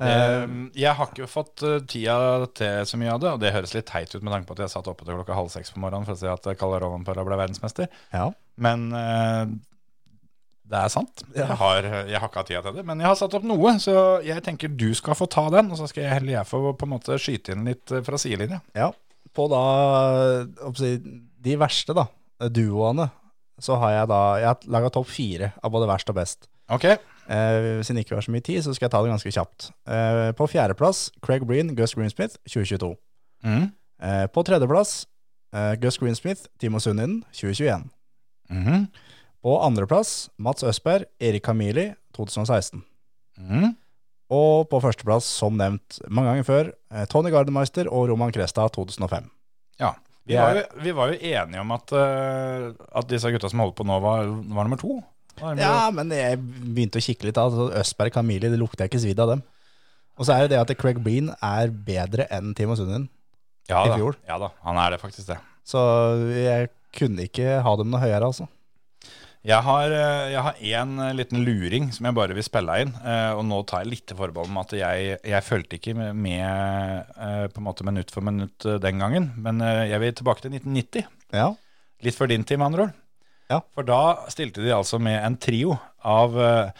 Eh, jeg har ikke fått eh, tida til så mye av det, og det høres litt teit ut med tanke på at jeg satt oppe til klokka halv seks på morgenen for å se at eh, Kalle Rovanpera ble verdensmester.
ja.
Men eh, det er sant. Jeg, har, jeg har ikke hatt tida til det, men jeg har satt opp noe. Så jeg tenker du skal få ta den, og så skal jeg heller jeg få på en måte skyte inn litt eh, fra sidelinja.
Ja, på da hva skal jeg si, de verste da, duoene, så har jeg da, jeg har laget topp fire av både verst og best.
Ok,
Eh, siden det ikke var så mye tid, så skal jeg ta det ganske kjapt. Eh, på fjerdeplass, Craig Breen, Gus Greensmith, 2022.
Mhm.
Eh, på tredjeplass, eh, Gus Greensmith, Timo Sundin, 2021.
Mhm.
På andreplass, Mats Østberg, Erik Kamili, 2016.
Mhm.
Og på førsteplass, som nevnt mange ganger før, eh, Tony Gardemeister og Roman Kresta, 2005.
Ja. Vi,
Jeg-
var jo, vi var jo enige om at, eh, at disse gutta som holdt på nå, var, var nummer to. Var nummer-
Ja, men jeg begynte å kikke litt av altså, Østberg Kamili, det lukter jeg ikke svidd av dem. Og så er det det at Craig Breen er bedre enn Timo Sundin.
ja,
i
da.
fjor.
ja da, han er det faktisk det.
Så jeg kunne ikke ha dem noe høyere, altså.
Jeg har, eh, jeg har en eh, liten luring som jeg bare vil spille inn. eh, Og nå tar jeg litt forbehold om at jeg, jeg fulgte ikke med, med eh, på en måte minutt for minutt eh, den gangen. Men eh, jeg vil tilbake til 1990.
Ja,
Litt før din tid, med andre ord.
Ja.
For da stilte de altså med en trio av eh,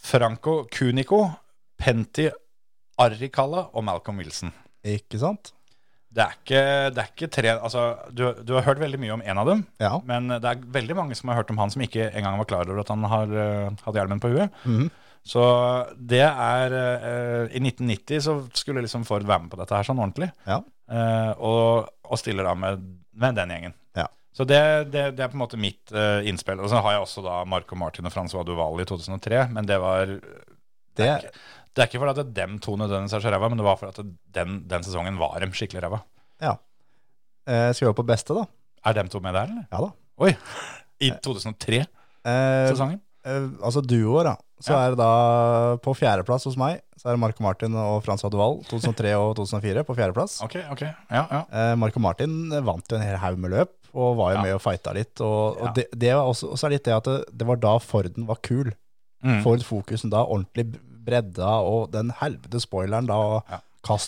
Franco Cunico, Penti Arricalla og Malcolm Wilson.
ikke sant?
Det er ikke, det er ikke tre Altså, du, du har hørt veldig mye om en av dem.
Ja.
Men det er veldig mange som har hørt om han som ikke engang var klar over at han har, eh, hadde hjelmen på huet.
Mhm.
Så det er eh, I 1990 så skulle liksom Ford være med på dette her sånn ordentlig.
Ja.
eh, og, og stiller da med, med den gjengen.
Ja.
Så det, det, det er på en måte mitt eh, innspill. Og så har jeg også da Marco Martin og Francois Duval i 2003, men det var
Det,
det er ikke fordi at dem to nødvendigvis er så ræva, men det var fordi at den, den sesongen var dem skikkelig ræva.
ja. Eh, skal vi over på beste, da?
Er dem to med der, eller?
Ja da.
Oi! I 2003-sesongen?
Eh, eh, altså duoer, da. Så
Ja.
er det da på fjerdeplass hos meg, så er det Marco Martin og Frans Advall, 2003 og 2004 på fjerdeplass.
Ok, ok. Ja, ja.
Eh, Marco Martin vant jo en hel haug med løp, og var jo
Ja.
med og fighta litt. Og, og
Ja.
det, det var også, også er litt det at det, det var da Forden var kul.
Mm.
Ford Focusen da ordentlig bredda, og den helvete spoileren da, og
Ja.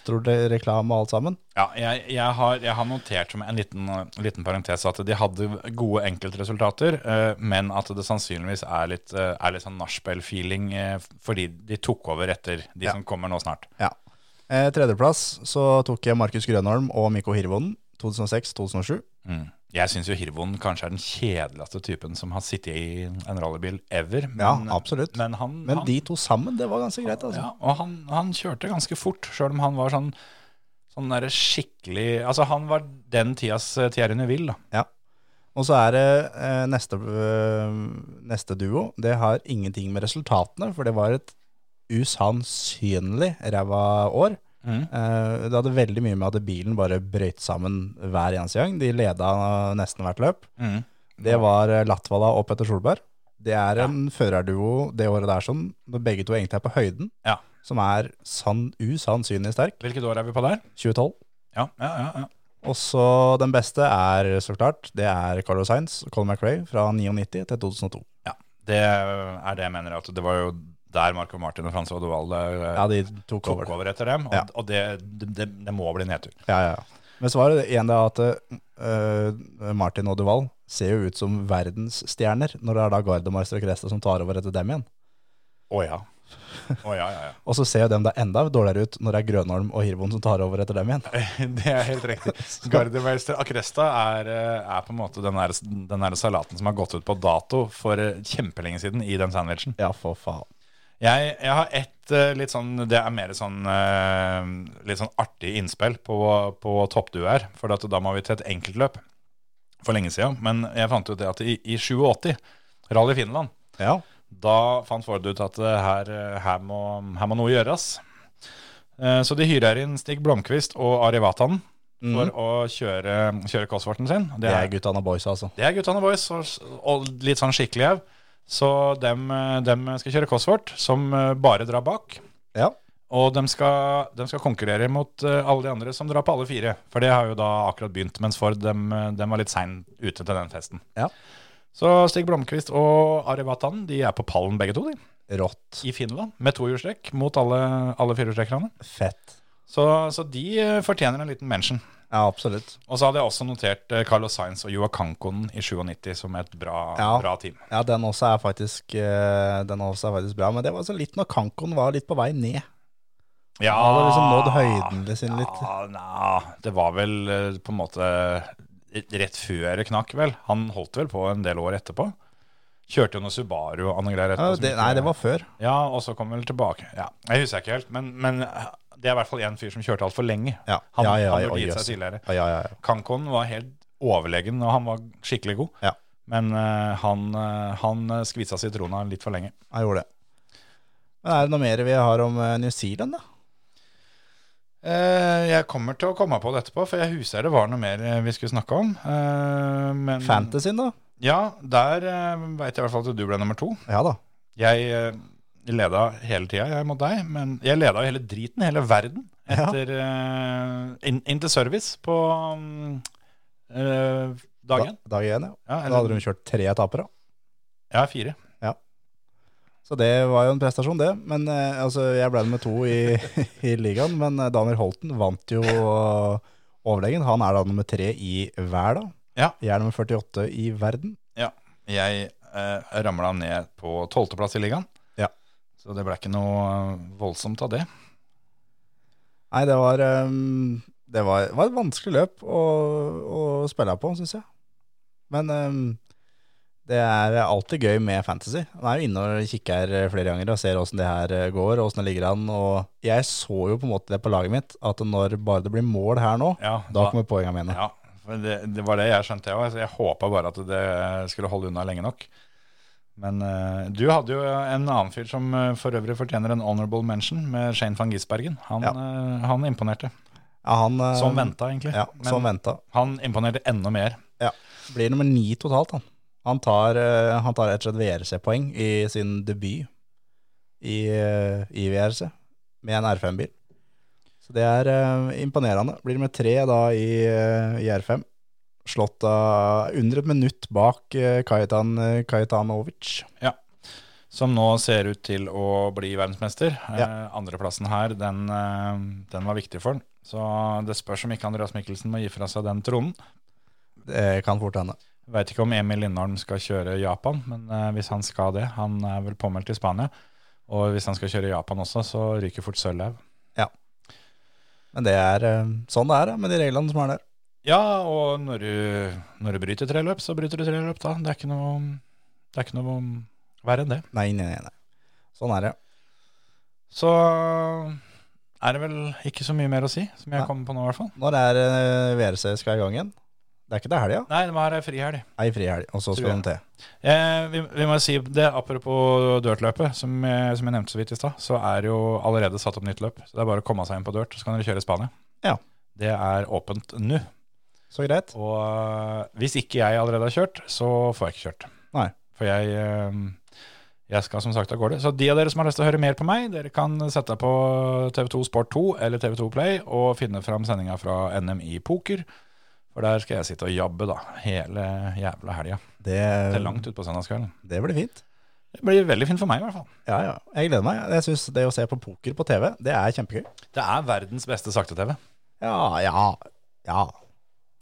Castro-reklame og alt sammen.
ja jeg, jeg, har, jeg har notert som en liten, eh, liten parentes at de hadde gode enkeltresultater, eh, men at det sannsynligvis er litt, eh, er litt sånn nachspiel-feeling eh, fordi de tok over etter de som kommer nå snart.
Ja. Eh, tredjeplass så tok jeg Markus Grønholm og Mikko Hirvonen 2006-2007.
Mm. Jeg syns jo Hirvonen kanskje er den kjedeligste typen som har sittet i en rallybil ever. Men, eh,
Ja, absolutt.
Men, han,
Men
han,
de to sammen, det var ganske greit, altså.
ja, og han, han kjørte ganske fort, sjøl om han var sånn, sånn der skikkelig Altså, han var den tidas eh, Thierry Neville, da.
Og så er det eh, neste, eh, neste duo. Det har ingenting med resultatene, for det var et usannsynlig ræva år.
Mm.
Eh, det hadde veldig mye med at bilen bare brøyt sammen hver eneste gang. De leda nesten hvert løp.
Mm.
Det var eh, Latvala og Petter Solberg. Det er en førerduo det året der som når begge to egentlig er på høyden,
Ja.
som er sann, usannsynlig sterk.
Hvilket år er vi på der?
2012.
Ja, ja, ja, ja.
Og så den beste er så klart, det er Carlos Sainz og Colin McRae fra 99 til 2002.
Ja, det er det jeg mener. At det var jo der Marco Martin og Frans Odoval
Ja, de tok
tok
over.
over etter dem. Og,
Ja.
og det, det, det må bli nedtur.
Ja, ja, ja. Men så var det igjen det at eh, Martin og Duval ser jo ut som verdensstjerner når det er da Gardemeister og Kresta som tar over etter dem igjen.
Å ja. Å, ja, ja, ja.
Og så ser jo dem da enda dårligere ut når det er Grønholm og Hirvoen som tar over etter dem igjen.
*laughs* Det er helt *laughs* riktig. Gardermeister Agresta er, eh, er på en måte den der, den der salaten som har gått ut på dato for eh, kjempelenge siden i den sandwichen.
Ja, for faen.
Jeg, jeg har ett eh, litt sånn Det er mer sånn eh, litt sånn artig innspill på, på toppduo her. For at da må vi til et enkeltløp for lenge siden. Men jeg fant ut det at i, i 87, Rally Finland,
Ja.
da fant Ford ut at eh, her, eh, her, må, her må noe gjøres. Eh, Så de hyrer inn Stig Blomkvist og Ari Vatanen for å kjøre, kjøre Cosworthen sin.
Mhm. Det er gutta av boysa, altså.
Det er guttene boys, og, og litt sånn skikkelig hev. Så dem, eh, dem skal kjøre Cosworth, som eh, bare drar bak.
Ja.
Og dem skal, dem skal konkurrere mot eh, alle de andre som drar på alle fire. For det har jo da akkurat begynt, mens Ford dem, eh, dem var litt sein ute til den festen.
Ja.
Så Stig Blomkvist og Ari Vatanen de er på pallen begge to, de.
Rått.
I Finland, med tohjulstrekk mot alle, alle firehjulstrekkerne.
Fett.
Så, så de eh, fortjener en liten mention.
Ja, absolutt.
Og så hadde jeg også notert eh, Carlos Sainz og Joa Kankonen i 97 som et bra,
Ja.
bra team.
Ja, den også er faktisk, eh, den også er faktisk bra. Men det var så litt når Kankon var litt på vei ned.
Ja,
Han hadde liksom nådd høyden sin litt.
Ah, Ja, nja, det var vel eh, på en måte rett før det knakk, vel. Han holdt vel på en del år etterpå. Kjørte jo noe Subaru og noe greier
Ja,
etterpå. som
det,
ikke-
nei, det var før.
Ja, og så kom vel tilbake. Ja, jeg husker ikke helt, men, men eh, det er i hvert fall en fyr som kjørte altfor lenge.
Ja.
Han,
Ja, ja,
han
ja,
burde gitt
jøss.
seg tidligere.
Ja, ja, ja. ja.
Kankon var helt overlegen, og han var skikkelig god.
Ja.
Men eh, han, eh, han eh, skvisa sitrona litt for lenge.
Han gjorde det. Men er det noe mer vi har om eh, New Zealand, da?
Eh, jeg kommer til å komme på det etterpå, for jeg husker det var noe mer eh, vi skulle snakke om. Eh, men,
Fantasyen, da?
Ja, der uh, veit jeg i hvert fall at du ble nummer to.
Ja da.
Jeg eh, leda hele tida, jeg mot deg, men jeg leda hele driten, hele verden,
Ja.
etter eh, inn, inn til service på mm, eh,
Da,
dag én.
dag én, ja.
Ja,
Da hadde de kjørt tre etapper, da.
ja, fire.
Så det var jo en prestasjon, det. Men eh, altså, jeg ble nummer to i, *laughs* i ligaen. Men eh, Daniel Holten vant jo eh, overlegen. Han er da nummer tre i hver, da.
Ja.
Jeg er nummer 48 i verden.
Jeg uh, ramla ned på tolvteplass i ligaen,
Ja.
så det ble ikke noe eh, voldsomt av det.
Nei, det var ehm, Det var, var et vanskelig løp å, å spille på, syns jeg. Men ehm, det er alltid gøy med fantasy. Han er jo inne og kikker her flere ganger og ser åssen det her eh, går, og åssen det ligger an. Og jeg så jo på en måte det på laget mitt, at når bare det blir mål her nå,
Ja,
da kommer poengene mine.
Ja, for det, det var det jeg skjønte òg. Jeg håpa bare at det skulle holde unna lenge nok. Men eh, du hadde jo en annen fyr som eh, for øvrig fortjener en honorable mention, med Shane van Gisbergen. Han,
Ja.
eh, han imponerte.
Ja, han, eh,
Som venta, egentlig.
Ja,
Sånn
sånn
Men
som venta.
han imponerte enda mer.
Ja. Blir nummer ni totalt, han. Han tar, eh, han tar rett og slett VRC-poeng i sin debut i, eh, i VRC med en R5-bil. Så det er eh, imponerende. Blir nummer tre da i, eh, i R5. Slått av under et minutt bak eh, Kajetan, eh, Kajetanovic.
Som nå ser ut til å bli verdensmester. Eh,
Ja.
Andreplassen her, den, eh, den var viktig for han. Så det spørs om ikke Andreas Mikkelsen må gi fra seg den tronen.
Det kan fort hende.
Veit ikke om Emil Lindholm skal kjøre Japan, men eh, hvis han skal det Han er vel påmeldt i Spania. Og hvis han skal kjøre Japan også, så ryker fort Sølvhaug.
Men det er eh, sånn det er ja, med de reglene som er der.
Ja, og når du, når du bryter tre løp, så bryter du tre løp, da. Det er ikke noe, det er ikke noe verre enn det.
Nei, nei, nei. nei. Sånn er det.
Så er det vel ikke så mye mer å si, som
Nei.
jeg kommer på nå i hvert fall.
Når er eh, VRC skal i gang igjen? Det er ikke det helga?
Nei, det var ei frihelg.
Ei frihelg, og så
Tror
skal
jeg.
de til.
Eh, vi, vi må si det, apropos dirtløpet, som, jeg- som jeg nevnte så vidt i stad, så er det jo allerede satt opp nytt løp. Så det er bare å komme seg inn på dirt, så kan dere kjøre i Spania.
Ja.
Det er åpent nå.
Så greit.
Og øh, hvis ikke jeg allerede har kjørt, så får jeg ikke kjørt.
Nei.
For jeg, øh, jeg skal som sagt av gårde. Så de av dere som har lyst til å høre mer på meg, dere kan sette deg på TV2 Sport 2 eller TV2 Play og finne fram sendinga fra NM i poker. For der skal jeg sitte og jabbe da, hele jævla helga.
Det,
Det er langt utpå søndagskvelden.
det blir fint.
Det blir veldig fint for meg i hvert fall.
Ja, ja. Jeg gleder meg. Jeg synes det å se på poker på TV, det er kjempegøy.
Det er verdens beste sakte-TV.
Ja, ja, ja.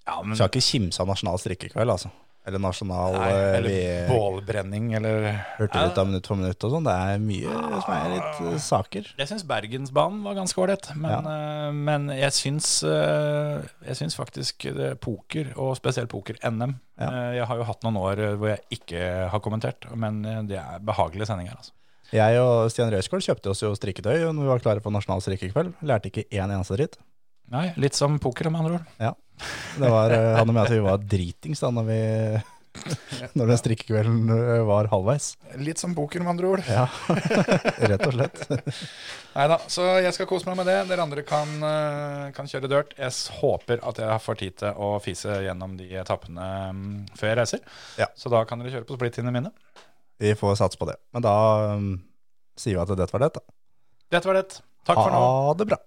Ja, men
Skal ikke kimse av nasjonal strikkekveld, altså. Eller nasjonal
Nei,
eh,
eller
vi
bålbrenning, eller
hørte ut av minutt for minutt og sånn. Det er mye som er litt eh, saker.
Jeg syns Bergensbanen var ganske ålreit, men, eh, men jeg, syns, eh, jeg syns faktisk det, poker, og spesielt poker-NM
Ja.
eh, Jeg har jo hatt noen år eh, hvor jeg ikke har kommentert, men eh, det er behagelige sendinger. Altså.
Jeg og Stian Røiskål kjøpte oss jo strikketøy når vi var klare for nasjonal strikkekveld. Lærte ikke én eneste dritt.
Nei, litt som poker, med andre ord.
Det var, eh, han og meg at vi var dritings da når, vi, *laughs* når den strikkekvelden eh, var halvveis.
Litt som poker, med andre ord.
Ja, rett og slett.
Nei da, så jeg skal kose meg med det. Dere andre kan, eh, kan kjøre dirt. Jeg s- håper at jeg får tid til å fise gjennom de etappene mm, før jeg reiser.
Ja.
Så da kan dere kjøre på splittene mine.
Vi får satse på det. Men da um, sier vi at dette var det. da.
Dette var det. Takk for nå.
Ha det bra.